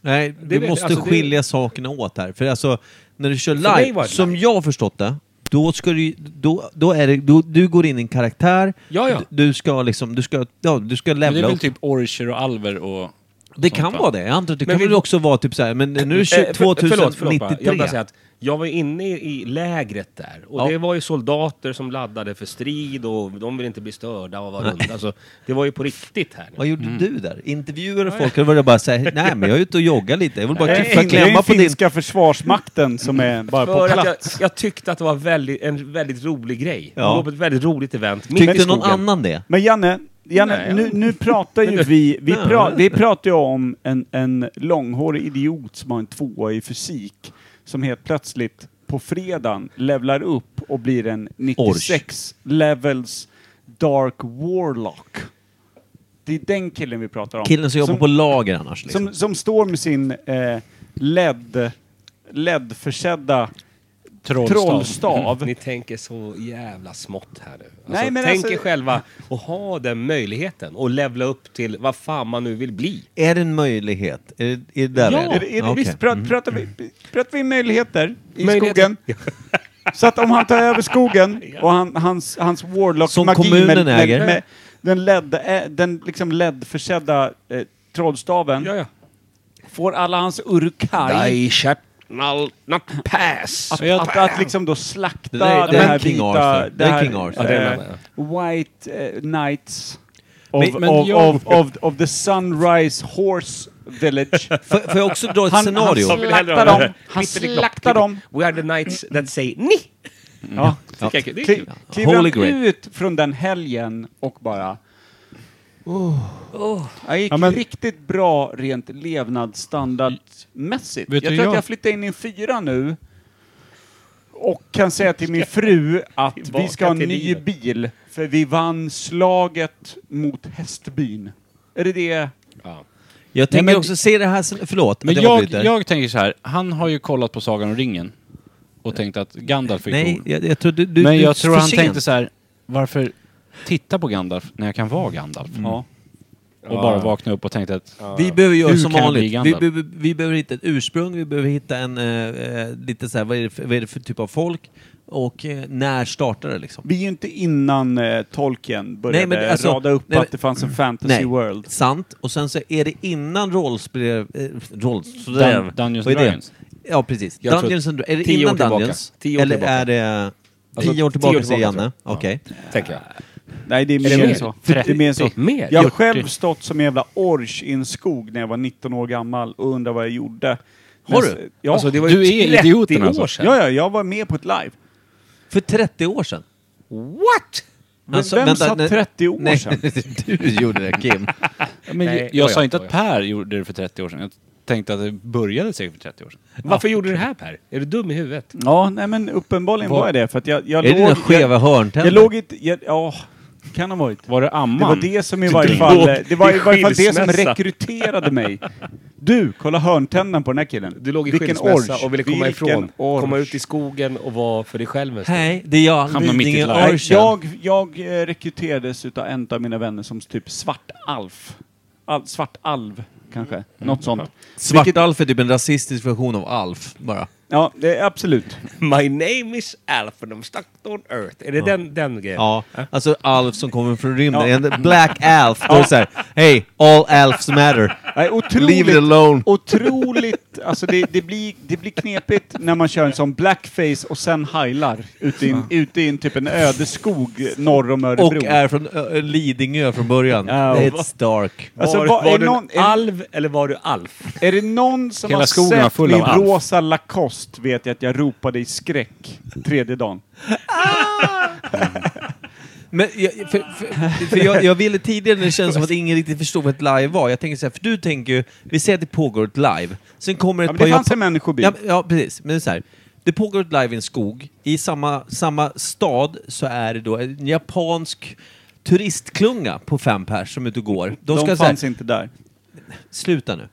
Nej, vi
vet-
måste
alltså, det-
skilja sakerna åt här. För alltså, när du kör
mig
live,
var det
som
live.
jag har förstått det, då ska du, ju- då, då är det, då, du går in i en karaktär,
Ja, ja.
d- Du, ska liksom, du ska, ja, du ska
Men det är
levla
väl
upp.
typ orcher och alver och...
det
sånt,
kan
va?
vara det, jag antar att det
Men
kan
vi-
väl också vara typ såhär, men nu är det
Eh,
tju-
för- förlåt,
2093.
förlåt bara. Jag, vill bara säga att jag var inne i lägret där och
Ja.
det var ju soldater som laddade för strid och de ville inte bli störda och vara runt. Alltså, det var ju på riktigt här.
Vad gjorde du där? Intervjuade folk eller var det bara såhär, nej men jag är ute och joggar lite, jag vill bara kiffa
det är
klämma
den
på din...
finska försvarsmakten som är bara
För
på
att jag,
plats.
jag tyckte att det var väldigt, en väldigt rolig grej.
Ja.
Det var ett väldigt roligt event. mitt i
Tyckte någon
skogen.
annan det?
Men Janne, Janne
Nej, jag-
nu, nu pratar ju vi, vi, pra, vi pratar ju om en, en långhårig idiot som har en tvåa i fysik som helt plötsligt på fredagen levlar upp och blir en 96 levels dark warlock. Det är den killen vi pratar om.
Killen som jobbar på lager annars liksom.
som, som står med sin eh, LED, LED-försedda
Trollstav.
trollstav.
Ni tänker så jävla smått här nu. Alltså,
Nej, men
tänk
alltså-
er själva och ha den möjligheten och levla upp till vad fan man nu vill bli.
Är det en möjlighet? Är det, är det där
Ja,
vi
Är det, är det,
Okej. Mm.
Visst, pratar, pratar, vi, pratar vi möjligheter i
Möjligheter.
skogen? Så att om han tar över skogen och han, hans, hans
Som
warlock-magi
kommunen
med, med,
äger.
med den, LED, eh, den liksom LED-försedda eh, trollstaven
Ja, ja.
får alla hans urukai
Not, not pass.
att, att, att liksom då slakta
Det
det,
där- det är
här
King
vita,
Arthur. Det är King Arthur.
Ja, det är
eh, White eh, Knights Of,
Men- men
of,
jag-
of, of, of the Sunrise Horse Village.
Får får jag också dra ett
Han-
scenario?
Han slaktar dem. Han slaktar dem.
We are the knights that say ni! Mm.
Ja.
Ja.
Kli- kli- Kliver
Holy
han
Grail.
ut från den helgen och bara... Oh. Jag gick
Ja, men-
riktigt bra rent levnadsstandardmässigt.
Vet
Jag
du,
tror att
jag-
jag flyttar in i en fyra nu och kan säga till min fru att vi ska ha en
till
ny
livet.
bil för vi vann slaget mot hästbyn. Är det det?
Jag tänker
men-
också se det här, sen- förlåt,
Men
att
jag,
avbryter.
jag tänker så här, han har ju kollat på Sagan om ringen och tänkt att Gandalf är
Nej,
cool.
jag, jag tror du, du
Men
du
jag
är
tror
för
han
sent.
tänkte så här, varför titta på Gandalf när jag kan vara Gandalf?
Mm.
Mm.
Ja.
Och bara vakna upp och tänkta att
Vi behöver göra
hur
som
kan jag bli
vanligt. Vi,
Gandalf?
behöver- vi behöver hitta ett ursprung, vi behöver hitta en, eh, eh, lite så här, vad är, det för, vad är det för typ av folk? Och eh, när startar det liksom?
Vi är ju inte innan eh, Tolkien började
men alltså-
rada upp
nej, men-
att det fanns en fantasy
Nej,
world.
sant. Och sen så är det innan rollspel... Eh, roll,
Dun- Dungeons
vad är
and
det?
Dragons.
Ja, precis.
Jag tror-
Dungeons and Dra- Är det
tio år
innan
tillbaka.
Dungeons?
Tio år
Eller
tillbaka.
är det...
Alltså,
tio år
tillbaka,
tillbaka, säger
tror jag.
Janne. Okej.
Tänker jag.
Nej, det är
det
mer än
mer?
så.
30?
Det är mer än så.
Mer?
Jag har
40?
själv stått som en jävla orch i en skog när jag var 19 år gammal och undrade vad jag gjorde.
Har
Men-
du?
Ja.
Alltså det var ju
Du är
30
idioten,
år
alltså.
sedan.
ja, ja, jag var med på ett live.
För 30 år sedan. Alltså,
What?
Men vem sa 30 år
nej,
sedan?
du gjorde det, Kim.
Men
Nej,
jag,
oj,
jag sa
oj,
inte
oj.
att Per gjorde det för 30 år sedan. Jag tänkte att det började säkert för 30 år sedan.
Varför gjorde du det här Per? Är du dum i huvudet?
Ja, nej men uppenbarligen var jag det. För att jag, jag
Är det
låg,
dina skeva
jag,
hörntänder?
jag låg inte... Jag, ja, kan ha varit.
Var det
Det var
amman?
det som i varje fall... Det var i varje fall det som
skilsmässa.
rekryterade mig. Du, kolla hörntänderna på den här killen.
Du låg i
Vilken
skilsmässa
orch.
och ville komma
Vilken
ifrån.
orch.
Komma ut i skogen och vara för dig själv en stund.
Nej, det är jag.
Hamnar mitt i
Lidingö
ett lag.
Nej,
Örsen.
jag, jag eh, rekryterades utav en av mina vänner som typ svartalf. Al, svartalv, kanske.
Mm.
Något sånt. Vilket-
Svart-Alf är typ en rasistisk version av Alf, bara.
Ja, det är absolut.
My name is Alf and I'm stuck on earth. Är det den, den grejen?
Ja, alltså Alf som kommer från rymden.
Ja.
En black Alf. Då är det såhär, hey, all Alfs matter.
Nej, otroligt,
Leave it alone.
Otroligt. Alltså det, det, blir, det blir knepigt när man kör en sån blackface och sen heilar ute i, en, ute i en, typ en ödeskog norr om Örebro.
Och är från Ö- Lidingö från början.
Ja.
It's dark.
Var,
Alltså,
var,
vad- är
du
någon-
en alv eller var du Alf?
Är det någon som
Hela skogen var
har sett
full av
min
alf.
rosa Lacoste vet jag att jag ropade i skräck tredje dagen.
Men jag, för, för, för jag, jag ville tidigare när det kändes som att ingen riktigt förstod vad ett live var. Jag tänker så här, för du tänker ju, vi säger att det pågår ett live. Sen kommer ett
Ja, men
par
det fanns
japa-
en människobil.
Ja, men- ja, precis. Men det är så här. Det pågår ett live i en skog. I samma, samma stad så är det då en japansk turistklunga på fem pers som är ute och går.
De,
ska så här-
fanns inte där.
Sluta nu.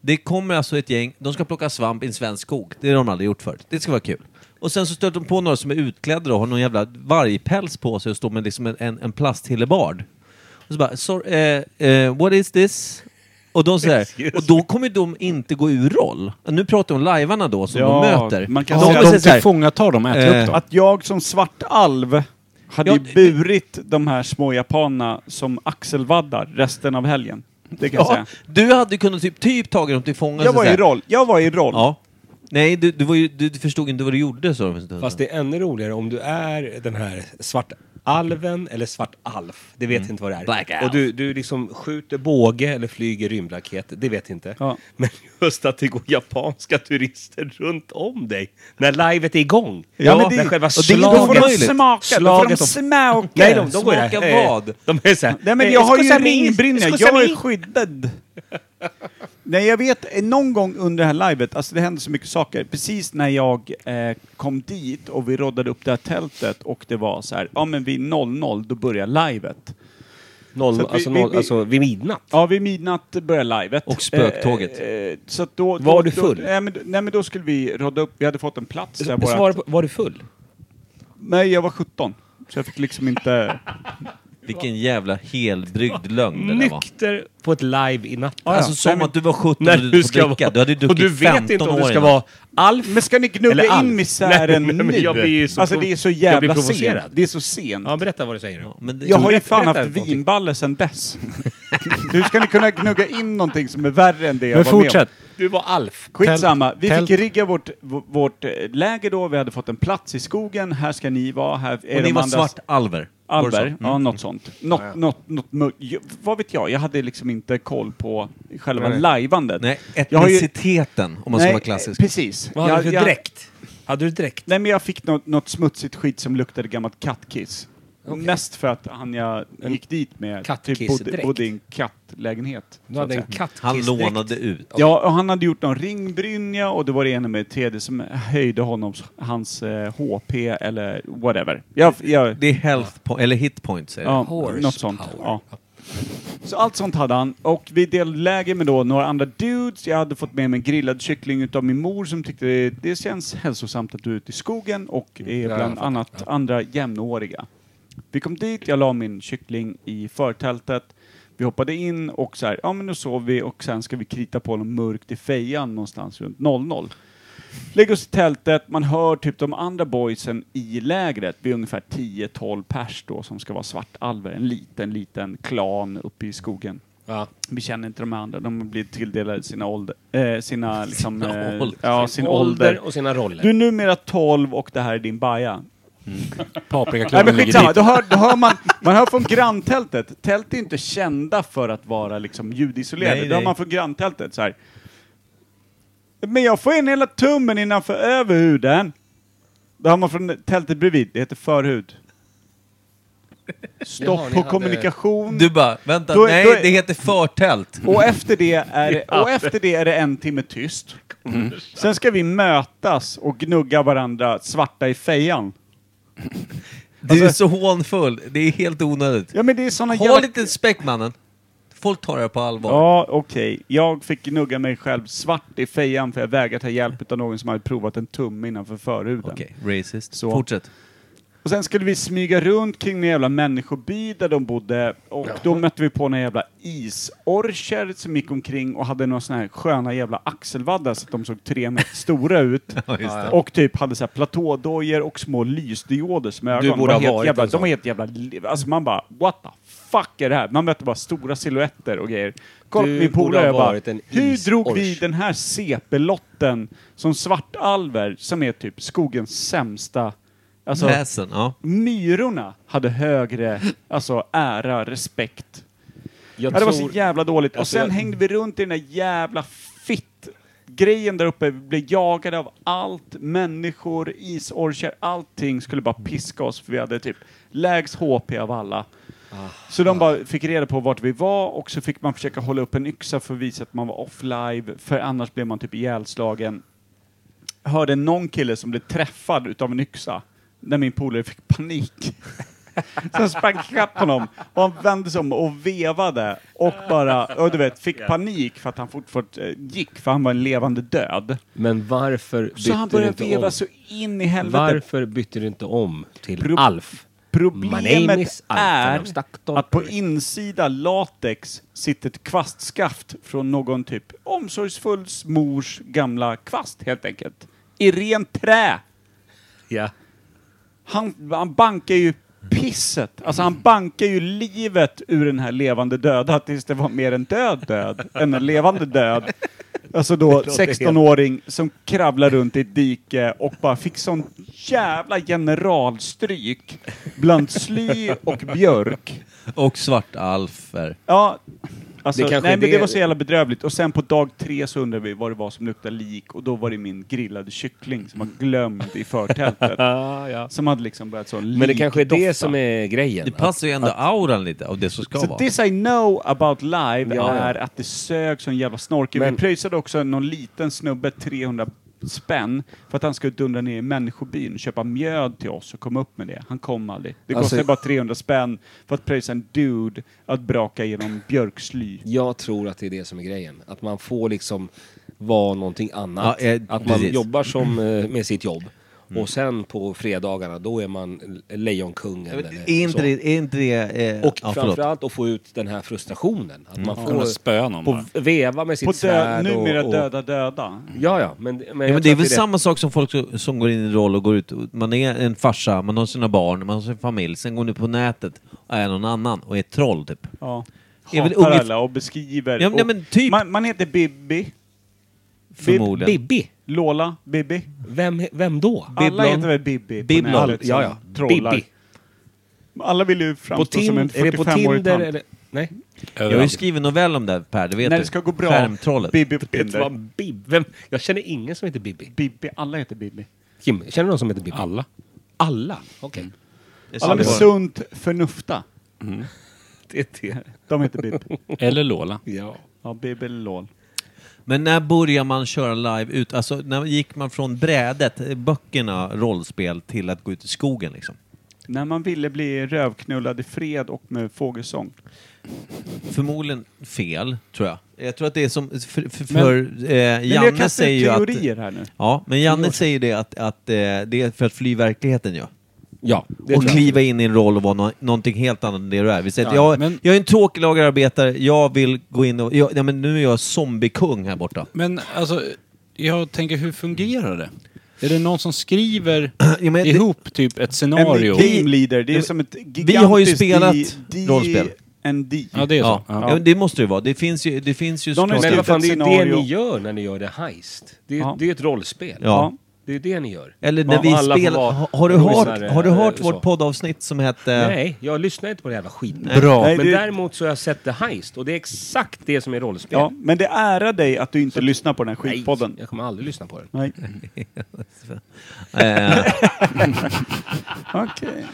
Det kommer alltså ett gäng, de ska plocka svamp i en svensk skog. Det har de aldrig gjort förut. Det ska vara kul. Och sen så stöter de på några som är utklädda och har någon jävla vargpäls på sig och står med liksom en, en, en plasthillebard. Och så bara, sorry, eh, eh, what is this? Och, de säger, och då kommer de inte gå ur roll. Nu pratar jag om lajvarna då som
Ja,
de möter.
man kan
Ja,
de
säga
kommer
att
de
säga så här,
tillfångatar dem och äter
Eh,
upp dem.
Att jag som svart alv hade
Ja,
ju burit de här små japanerna som axelvaddar resten av helgen. Det kan jag
ja,
säga.
du hade kunnat typ, typ tagit dem till fånga.
Jag
så
var
så
i
här.
roll. Jag var i roll.
Ja. Nej, du, du, var ju, du, du förstod inte vad du gjorde sa de. för en stund
Fast
sedan.
det är ännu roligare om du är den här svartalven eller svartalf. Det vet inte vad det är.
Black Alf.
och du, du liksom skjuter båge eller flyger rymdraket. Det vet inte.
Ja.
Men just att det går japanska turister runt om dig när livet är igång.
Ja, men det-
när själva
och det är ju
Då får de
omöjligt.
smaka. Då får de
Slaget om-
smaka.
Nej, de, de går
Smaka
ju där. Eh,
vad?
De är Eh, såhär...
Ah, Nej men jag har ju ringbrynja, jag är skyddad. Nej jag vet, eh, någon gång under det här livet, alltså det hände så mycket saker. Precis när jag eh, kom dit och vi roddade upp det här tältet och det var så här, ja men vid 00 då börjar livet.
Noll,
Så att vi-
alltså,
vi-
noll,
vi-
alltså vid midnatt.
Ja, vid midnatt börjar livet.
Och spöktåget.
Eh, eh, så att då,
Var
då,
du full?
Då, nej, men, nej men då skulle vi rodda upp, vi hade fått en plats där
Så- Svara
vårat,
på, var du full?
Nej jag var 17. Så jag fick liksom inte...
Vilken jävla helbryggd lögn det där var.
Nykter på ett live i natten.
Ja, ja.
Alltså som
Nej, men-
att du var 17
när
och du
du
fick
ska
dricka.
vara...
Du hade druckit
och du vet
15
inte om
år
du ska
innan.
vara Alf
Men ska ni
Eller
gnugga
Alf?
in misären
Nej, men- men
nu?
jag blir ju så
alltså
prov-
det är så
jag
jävla
blir
sent.
provocerad.
Det är så sent.
Ja, berätta vad du säger nu.
Ja, men det-
jag har ju
berätta-
fan
berätta
haft
någonting.
vinballe sedan dess. Hur ska ni kunna gnugga in någonting som är värre än det jag
Men
var med om?
fortsätt.
Du var Alf.
Skitsamma. Vi
Tält.
fick rigga vårt, v- vårt eh, läger då. Vi hade fått en plats i skogen. Här ska ni vara. Här är
Och ni
de
var
andra.
svartalver.
Alberg,
Mm.
ja något sånt. Något, något, något, mörkt. Jag- vad vet jag, jag hade liksom inte koll på själva
Nej.
lajvandet.
Nej,
Jag har ju-
etniciteten, om man ska
Nej,
vara klassisk.
eh, Precis.
Vad hade du för dräkt?
Hade du dräkt? Nej, men jag fick något, något smutsigt skit som luktade gammalt kattkiss. Mest för att han jag gick dit med typ bodde,
Kattkissdräkt.
bodde i en kattlägenhet.
Du
så
hade
att
en
säga.
Han
kattkissdräkt.
lånade ut.
Ja, och han hade gjort någon ringbrynja och det var det ena med det tredje som höjde honom, hans eh, HP eller whatever. Jag, jag,
Det är health po- eller hit points. Är det.
Ja, något sånt. Ja. Så allt sånt hade han. Och vi delade läger med då några andra dudes. Jag hade fått med mig en grillad kyckling utav min mor som tyckte det, det känns hälsosamt att du är ute i skogen och är
Ja, jag
bland
fattar.
annat andra jämnåriga. Vi kom dit, jag la min kyckling i förtältet. Vi hoppade in och så här, ja men nu sov vi och sen ska vi krita på honom mörkt i fejan någonstans runt 00. Lägger oss i tältet, man hör typ de andra boysen i lägret, vi är ungefär 10-12 pers då som ska vara svartalver, en liten, liten klan uppe i skogen.
Ja.
Vi känner inte de andra, de har blivit tilldelade sina ålder, eh, sina liksom,
Sina
eh,
ålder.
ja, sin ålder.
och sina roller.
Du är numera 12 och det här är din baja. Nej men
Paprikaklubben ligger
skitsamma,
dit.
då hör, då hör man, man hör från granntältet. Tält är inte kända för att vara liksom ljudisolerade.
Nej,
då hör
nej.
man från granntältet så här. Men jag får in hela tummen innanför överhuden. Då hör man från tältet bredvid, det heter förhud.
Jaha,
Stopp
ni
på
hade-
kommunikation.
Du bara, vänta,
Då är-
nej
då är-
det heter förtält.
Och efter, det är, det- och efter det är det en timme tyst.
Mm.
Sen ska vi mötas och gnugga varandra svarta i fejan.
Du är så hånfull, det är helt onödigt.
Ja men det är såna
Håll lite respekt mannen. Folk tar det här på allvar.
Ja, okej. Jag fick gnugga mig själv svart i fejan för jag vägrade ta hjälp av någon som hade provat en tumme innanför förhuden.
Okej, racist.
Så.
Fortsätt.
Och sen skulle vi smyga runt kring en jävla människoby där de bodde och då mötte vi på några jävla isorcher som gick omkring och hade några såna här sköna jävla axelvaddar så att de såg tre meter stora ut. Och typ hade så här platådojor och små lysdioder som ögon.
Du borde
De var
ha
helt
varit
jävla,
en
De
sån.
var helt jävla... li- Alltså man bara, what the fuck är det här? Man mötte bara stora silhuetter och grejer. Kolla på
Du
min
borde
polare
ha
jag bara,
varit en
hur drog vi
isorch."
den här CP-lotten som svartalver, som är typ skogens sämsta... Alltså,
Väsen, ja.
Myrorna hade högre alltså, ära, respekt.
Jag
Ja, det var så
tror-
jävla dåligt. Och
Alltså,
sen
jag-
hängde vi runt i den där jävla fitt grejen där uppe. Vi blev jagade av allt, människor, isorcher, allting skulle bara piska oss för vi hade typ lägst HP av alla.
Ah.
Så de bara fick reda på vart vi var och så fick man försöka hålla upp en yxa för att visa att man var off-live, för annars blev man typ ihjälslagen hörde någon kille som blev träffad utav en yxa när min polare fick panik. Sen sprang jag ikapp honom och han vände sig om och vevade och bara, och du vet, fick panik för att han fortfarande eh, gick för han var en levande död.
Men varför bytte
Så han
du
började
inte
veva
om?
så in i helvete.
Varför bytte du inte om till
Pro-
Alf? My name
Problemet
is Alf
är
and I'm stuck on
att på
earth.
insida latex sitter ett kvastskaft från någon typ omsorgsfull mors gamla kvast helt enkelt. I rent trä.
Ja.
han, han bankar ju pisset. Alltså han bankar ju livet ur den här levande döda tills det var mer en död död än en levande död. Alltså då 16-åring som kravlar runt i ett dike och bara fick sån jävla generalstryk bland sly och björk.
Och svartalfer.
Ja, alltså,
Det kanske
nej, men
det-
det var så jävla bedrövligt. Och sen på dag tre så undrade vi vad det var som luktade lik och då var det min grillade kyckling som var glömd i förtältet. Som hade liksom börjat så
Men det kanske är det som är grejen.
Det passar ju ändå auran lite av det som ska
Så
vara.
this I know about live
Ja.
är att det sög som jävla snorkel.
Men-
Vi pröjsade också någon liten snubbe 300 spänn för att han skulle dundra ner i människobyn och köpa mjöd till oss och komma upp med det. Han kom aldrig. Det
Alltså-
kostade bara 300 spänn för att pröjsa en dude att braka genom björksly.
Jag tror att det är det som är grejen. Att man får liksom vara någonting annat.
Ja, eh,
att man
precis.
jobbar som, eh, med sitt jobb. Och sen på fredagarna, då är man Lejonkungen. eller
Är inte
så.
det... Är inte det eh,
Och
ja, förlåt.
framförallt att få ut den här frustrationen. Att man
Kunna
får
spöa någon
på
bara.
veva med sitt
På dö-
svärd. och-
numera
och,
döda döda.
Ja, ja. Men, men,
Ja, men
jag
det
tror
är
att
väl samma sak som folk som- som går in i en roll och går ut. Man är en farsa, man har sina barn, man har sin familj. Sen går du på nätet och är någon annan och är ett troll typ.
Ja.
Ja, men
Hatar
ungef-
alla och beskriver.
Ja, men-
och
men typ-
man, man heter Bibi,
Förmodligen.
Bibi?
Lola, Bibi.
Vem, vem då?
Alla
Biblon.
heter väl Bibi på
Biblon,
nätet som
ja, ja.
Trollar.
Bibi.
Alla vill ju
På
framstå som
Tin-
en
är det på
45-årig
Tinder
tant.
eller? Nej.
Jag har ju skrivit novell om det här, Per, det vet
När
du.
det ska gå bra.
Skärmtrollet.
Bibi på
Vet du
Tinder.
vad Bib- Vem? Jag känner ingen som heter Bibi.
Bibi, alla heter Bibi.
Kim, känner du någon som heter Bibi?
Alla.
Alla? Okej.
Mm. Alla med sunt förnufta.
Mm.
Det är det.
De heter Bibi.
Eller Lola.
Ja.
Ja, Bibi eller Lol.
Men när börjar man köra live ut? Alltså, när gick man från brädet, eh, böckerna, rollspel, till att gå ut i skogen liksom?
När man ville bli rövknullad i fred och med fågelsång.
Förmodligen fel, tror jag. Jag tror att det är som... För, för, för eh,
Men jag
Janne
kastar
säger
ut
ju att...
teorier här nu.
Ja, men Janne säger det att, att eh, det är för att fly verkligheten ju.
Ja, det
och
tror jag.
kliva in i en roll och vara nå- någonting helt annat än det du är. Vi säger att
Ja,
jag,
men-
jag är en tråkig lagerarbetare, jag vill gå in och... Jag, ja, men nu är jag zombiekung här borta.
Men alltså, jag tänker hur fungerar det? Är det någon som skriver
Ja, men det-
ihop typ ett scenario?
En teamleader, det är
Vi-
som ett gigantiskt...
Vi har ju spelat
di,
rollspel.
En di.
Ja, det är
Ja.
så.
Ja. men det måste det vara. Det finns ju, det finns ju
Någon har
såklart-
Men vad fan, det är ju det
scenario.
ni gör när ni gör det heist. Det är,
Ja.
det är ett rollspel.
Ja.
Det är ju det ni gör.
Eller
Ja,
när
och alla
vi
får
spelar...
vara
Ha- Har du hört,
lyssnare,
har du hört
eh, så.
vårt poddavsnitt som hette...
Nej, jag lyssnar inte på det jävla skiten.
Bra.
Nej,
Men
det-
däremot så har jag sett The Heist och det är exakt det som är rollspel.
Ja, men det ära dig att du inte lyssnar på den här
Nej,
skitpodden.
jag kommer aldrig lyssna på den.
Nej.
Eh,
Okej.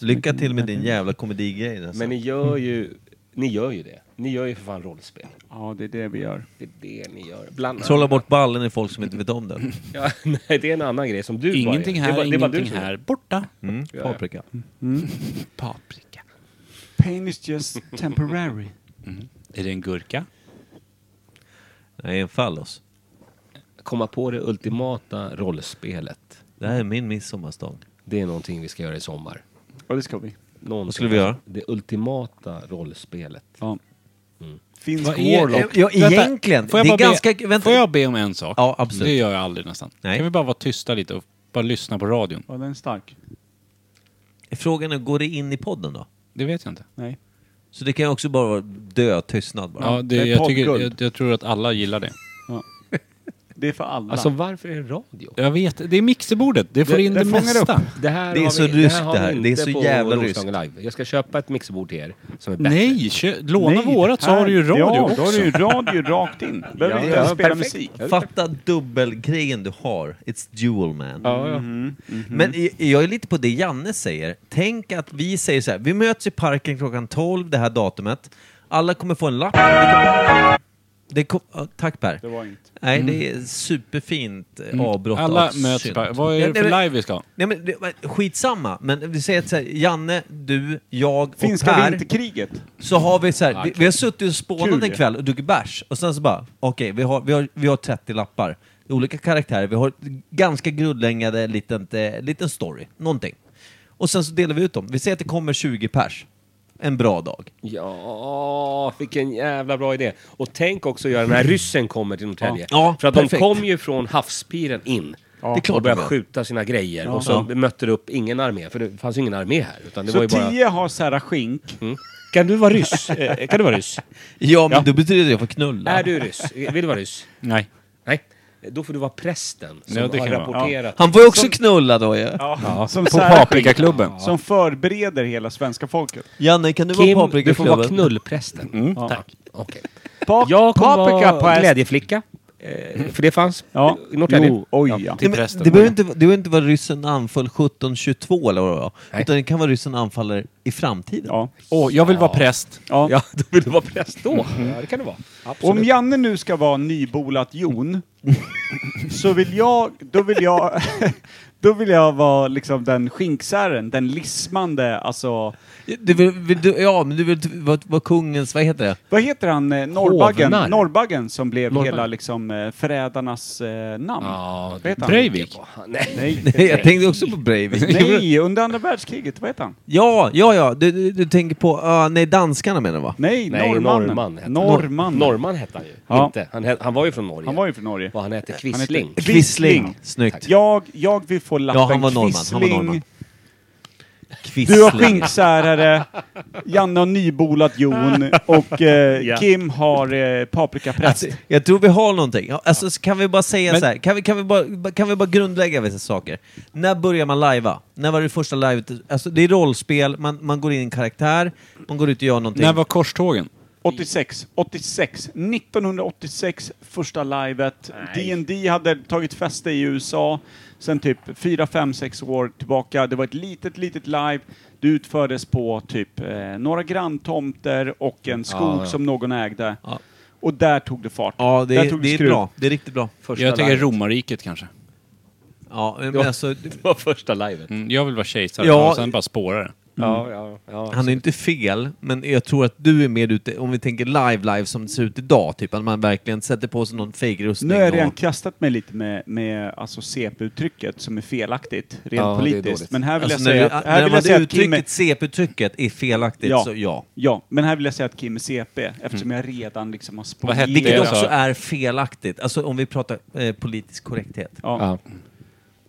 lycka till med din jävla komedigrej. Alltså.
Men ni gör ju, ni gör ju det. Ni gör ju för fan rollspel.
Ja, det är det vi gör.
Det är det ni gör. Bland
Trolla
annat.
bort ballen i folk som inte vet om det. Mm.
Ja, nej, det är en annan grej som du bara
Ingenting
gör.
här,
det var, det var
ingenting
du som
här.
gör.
Borta.
Mm,
Ja, ja.
paprika.
Paprika.
Pain is just temporary.
Är det en gurka?
Nej, en fallos.
Komma på det ultimata rollspelet.
Det här är min midsommarstång.
Det är någonting vi ska göra i sommar.
Ja, det ska vi.
Någonting.
Vad skulle vi göra?
Det ultimata rollspelet.
Ja.
Mm.
Finsk
Vad är-
warlock.
Ja,
Vänta,
egentligen.
Får jag,
det är
bara
ganska...
be,
vänta.
får jag be om en sak?
Ja, absolut.
Det gör jag aldrig nästan.
Nej.
Kan vi bara vara tysta lite och bara lyssna på radion?
Ja, den är stark.
Frågan är, går det in i podden då?
Det vet jag inte.
Nej.
Så det kan ju också bara vara död tystnad bara.
Ja, det,
det är
jag, tycker,
poddguld.
jag, jag tror att alla gillar det.
Det är för alla.
Alltså varför är det radio?
Jag vet, det är mixerbordet. Det får
Det-
in det,
det fångar
mesta.
upp.
Det, här
Det är
har
så
vi,
ryskt
har
det
vi
här.
inte
Det är så
på
jävla Mm.
Roslagen Live. Jag ska köpa ett mixerbord till er som är bättre.
Nej, kö, låna
Nej,
vårat så
här-
har du ju radio
Ja,
också.
då har du ju radio rakt in. Behöver
Ja,
inte
ja,
ens spela
perfekt.
musik.
Fatta dubbelgrejen du har. It's dual man.
Ja, ja.
Men i- jag är lite på det Janne säger. Tänk att vi säger så här, vi möts i parken klockan 12 det här datumet. Alla kommer få en lapp. Det kom, ja, tack Per.
Det var inget.
Nej, det är superfint eh, avbrott
Mm. Alla
av
möts
synd.
bara. Vad är det
Nej,
för
men-
live vi ska ha?
Nej, men, det- men, skitsamma, men vi säger att så här, Janne, du, jag och
Finska
Per,
vinterkriget.
så har vi så här, vi, vi har suttit och spånat
Kul
en
ju.
kväll och druckit bärs och sen så bara, okej, vi, har, vi, har, vi har 30 lappar, Det är olika karaktärer, vi har ett ganska grundläggande liten, eh, liten story, någonting. Och sen så delar vi ut dem. Vi säger att det kommer 20 pers en bra dag.
Ja, vilken jävla bra idé. Och tänk också att göra när ryssen kommer till Norrtälje.
Ja,
För att
perfekt.
de kom ju från havspiren in.
Det är klart
och började
de gör.
skjuta sina grejer. Och så mötte det upp ingen armé, för det fanns ju ingen armé här. Utan det var
Så
ju bara...
tio har Sarah Skink.
Mm. Kan du vara ryss? Eh, kan du vara ryss?
Ja, men
Ja.
då betyder det att jag får knulla.
Är du ryss? Eh, Vill du vara ryss?
Nej.
Nej. Då får du vara prästen som
Ja, det kan
har
jag vara.
rapporterat.
Han får ju också knulla då ju. Ja.
Som
På
Sarah Skink.
Paprikaklubben.
Som förbereder hela svenska folket.
Janne, kan du vara
Kim, du får vara
paprikaklubben?
knullprästen.
Ja.
Tack. Okej.
Pa-
Jag kommer vara
paprikapräst.
glädjeflicka. Eh, för det fanns
Ja.
i Norrtälje.
Jo, oj, ja.
Nej,
Till
men
prästen.
Det behöver inte, det behöver inte vara ryssen anföll 1722 eller vad det var. Utan det kan vara ryssen anfaller i framtiden.
Ja.
Åh, jag vill vara präst.
Ja.
Ja, Mm. då vill du vara präst då. Ja, det kan du vara. Absolut.
Om Janne nu ska vara nybolat Jon, så vill jag, då vill jag, då vill jag vara liksom den skinksären, den lismande, alltså,
Du vill, vill du, ja, men du vill t- vara vara kungens, vad heter det?
vad heter han, eh, Norrbaggen,
Hovnar.
Norrbaggen som blev
Norrbaggen.
hela liksom eh, förrädarnas eh, namn.
Ja,
Vad heter han?
Breivik.
Nej.
Nej.
Nej, jag tänkte också på Breivik.
Nej, under andra världskriget, vad heter han?
Ja, ja, ja. Du, du, du tänker på, ah, nej, danskarna menar du va?
Nej,
Nej,
norrmannen.
norrman hette han.
Norrmannen.
Norrman hette han ju.
Ja.
Inte. Han, he- han var ju från Norge.
Han var ju från Norge.
Och han hette Quisling.
hette-
Quisling.
Quisling.
Snyggt.
Jag, jag vill få lappen
Ja, han var norrman. Han var
Quisling.
norrman.
Du har skinksärare, Janne har nybolat Jon och eh,
Ja.
Kim har eh, paprikapräst.
Alltså, Jag tror vi har någonting. Ja, Alltså, så kan vi bara säga så här, kan vi, kan vi, bara, kan vi bara grundlägga vissa saker? När börjar man lajva? När var det första livet? Alltså, det är rollspel, man, man går in i en karaktär, man går ut och gör någonting.
När var korstågen?
86, 86, 1986, första livet. D&D hade tagit fäste i USA sen typ 4, 5, 6 år tillbaka. Det var ett litet, litet live. Det utfördes på typ eh, några granntomter och en skog
Ja, ja.
som någon ägde. Och där tog det fart.
Ja, det
där
är,
tog
det är
skruv.
bra. Det är riktigt bra.
jag tycker romarriket kanske.
Ja, men
Det var-
alltså,
Det var första livet.
Mm, jag vill vara kejsare
Ja.
och sen bara spårare.
Mm.
Ja, ja, ja.
han är inte fel, men jag tror att du är mer ute, om vi tänker live, live som det ser ut idag, typ, att man verkligen sätter på sig någon fejkrustning.
Nu har jag
och-
redan kastat mig lite med, med alltså CP-uttrycket som är felaktigt rent
Ja, det är
politiskt.
dåligt.
Men här vill
Alltså,
jag
när,
säga
du-
att, här
när
vill
man
jag säga att Kim är,
uttrycket, CP-uttrycket är felaktigt,
Ja.
så ja.
ja, men här vill jag säga att Kim är CP eftersom jag redan liksom har
Vad hette
spolat.
Vilket
jag sa.
också är felaktigt, alltså om vi pratar eh, politisk korrekthet.
Ja.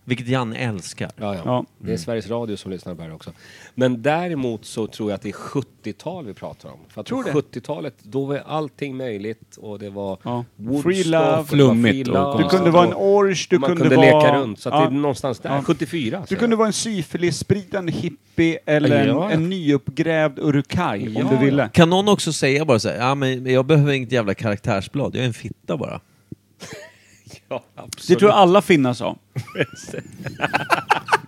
Vilket Janne älskar.
Ja, ja.
Ja. Mm.
Det är Sveriges Radio som lyssnar på det här också. Men däremot så tror jag att det är 70-tal vi pratar om. För att
Tror
på
det.
70-talet, då var alltid möjligt och det var
Ja.
Woodstock,
Free
det
love.
var
Flummigt och
love,
Du kunde vara en orch, du
man
kunde,
kunde, leka
vara...
runt. Så att
ja.
det är någonstans där.
Ja.
74.
Du
säger
kunde
jag.
vara en syfilisspridande hippie eller en,
Ja, ja.
en nyuppgrävd urkaj om
Ja,
du ville.
Kan någon också säga bara så här, ja men jag behöver inget jävla karaktärsblad, jag är en fitta bara.
ja,
Det
absolut.
tror jag alla finnar sa.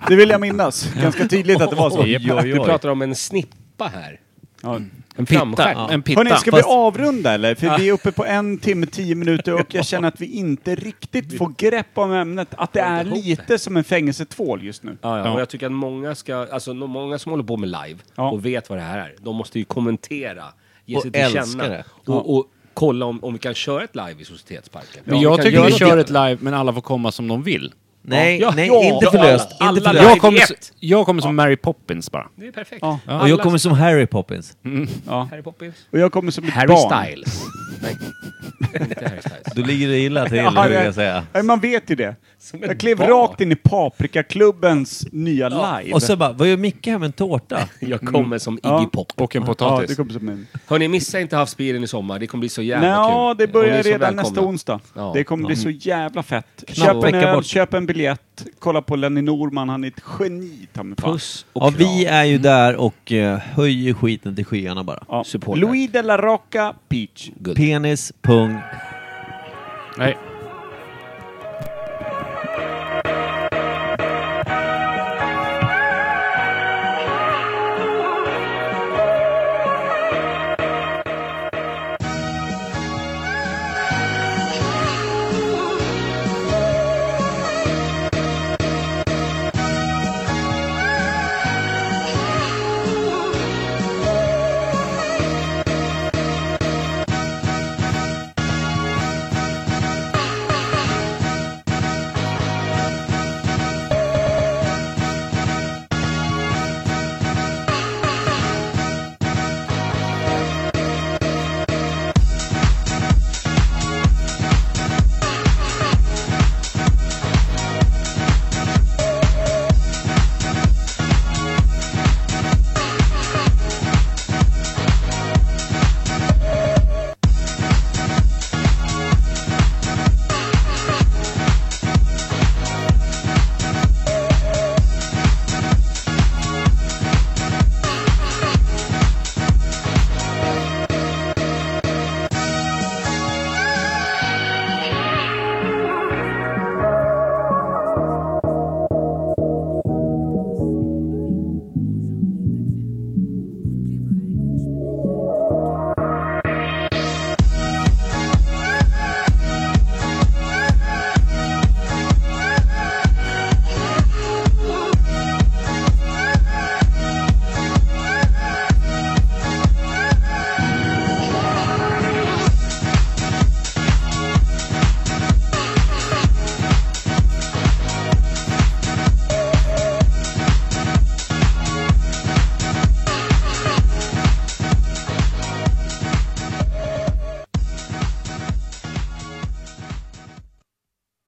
det vill jag minnas. Ganska tydligt att det var så.
Du pratar om en snippa här.
Ja.
En
Pitta. En pitta.
Hörni, ska
Fast-
vi avrunda eller? För vi är uppe på en timme, tio minuter och jag känner att vi inte riktigt får grepp om ämnet. Att det är lite som en fängelsetvål just nu.
Ja, ja. Och jag tycker att många, ska, alltså, no- många som håller på med live
Ja.
och vet vad det här är, de måste ju kommentera, ge
Och
sig till
älska
känna.
det.
Och, och kolla om, om vi kan köra ett live i Societetsparken.
Men
Om
jag
kan
tycker
göra
vi
något
kör
live.
ett live, men alla får komma som de vill.
Nej,
Ja,
nej,
ja,
inte
ja,
förlöst.
alla-
inte
alla
förlöst.
Jag kommer,
ett.
s- jag kommer som Mary Poppins bara.
Det är perfekt.
Ja.
Och jag kommer som Harry Poppins.
Ja.
Harry Poppins.
Och jag kommer som ett
Harry
barn.
Styles. Nej, inte Harry Styles.
Då ligger det illa till,
Ja,
vill
det-
jag säga.
Nej, Man vet ju det.
Som ett
Jag klev
barn.
rakt in i Paprikaklubbens nya live.
Och så bara, vad gör Micke här med en tårta?
Jag kommer som Iggy
Ja.
Pop.
Och en
ja, det
potatis.
kommer som en...
Hörni, missa inte havsbilen i sommar. Det kommer bli så jävla
Nå,
kul.
det
Och ni är
börjar
så
redan
välkomna.
nästa onsdag.
Ja.
Det kommer bli
Ja.
så jävla fett. Köp en
vecka
öl,
bort.
köp en biljett, kolla på Lenny Norman, han är ett geni ta mig fan.
Puss och
Ja, vi
kram.
är ju där och eh, höjer skiten till skyarna bara.
Ja.
Supporter.
Louis de la Rocca Peach.
Penis, pung,
Nej,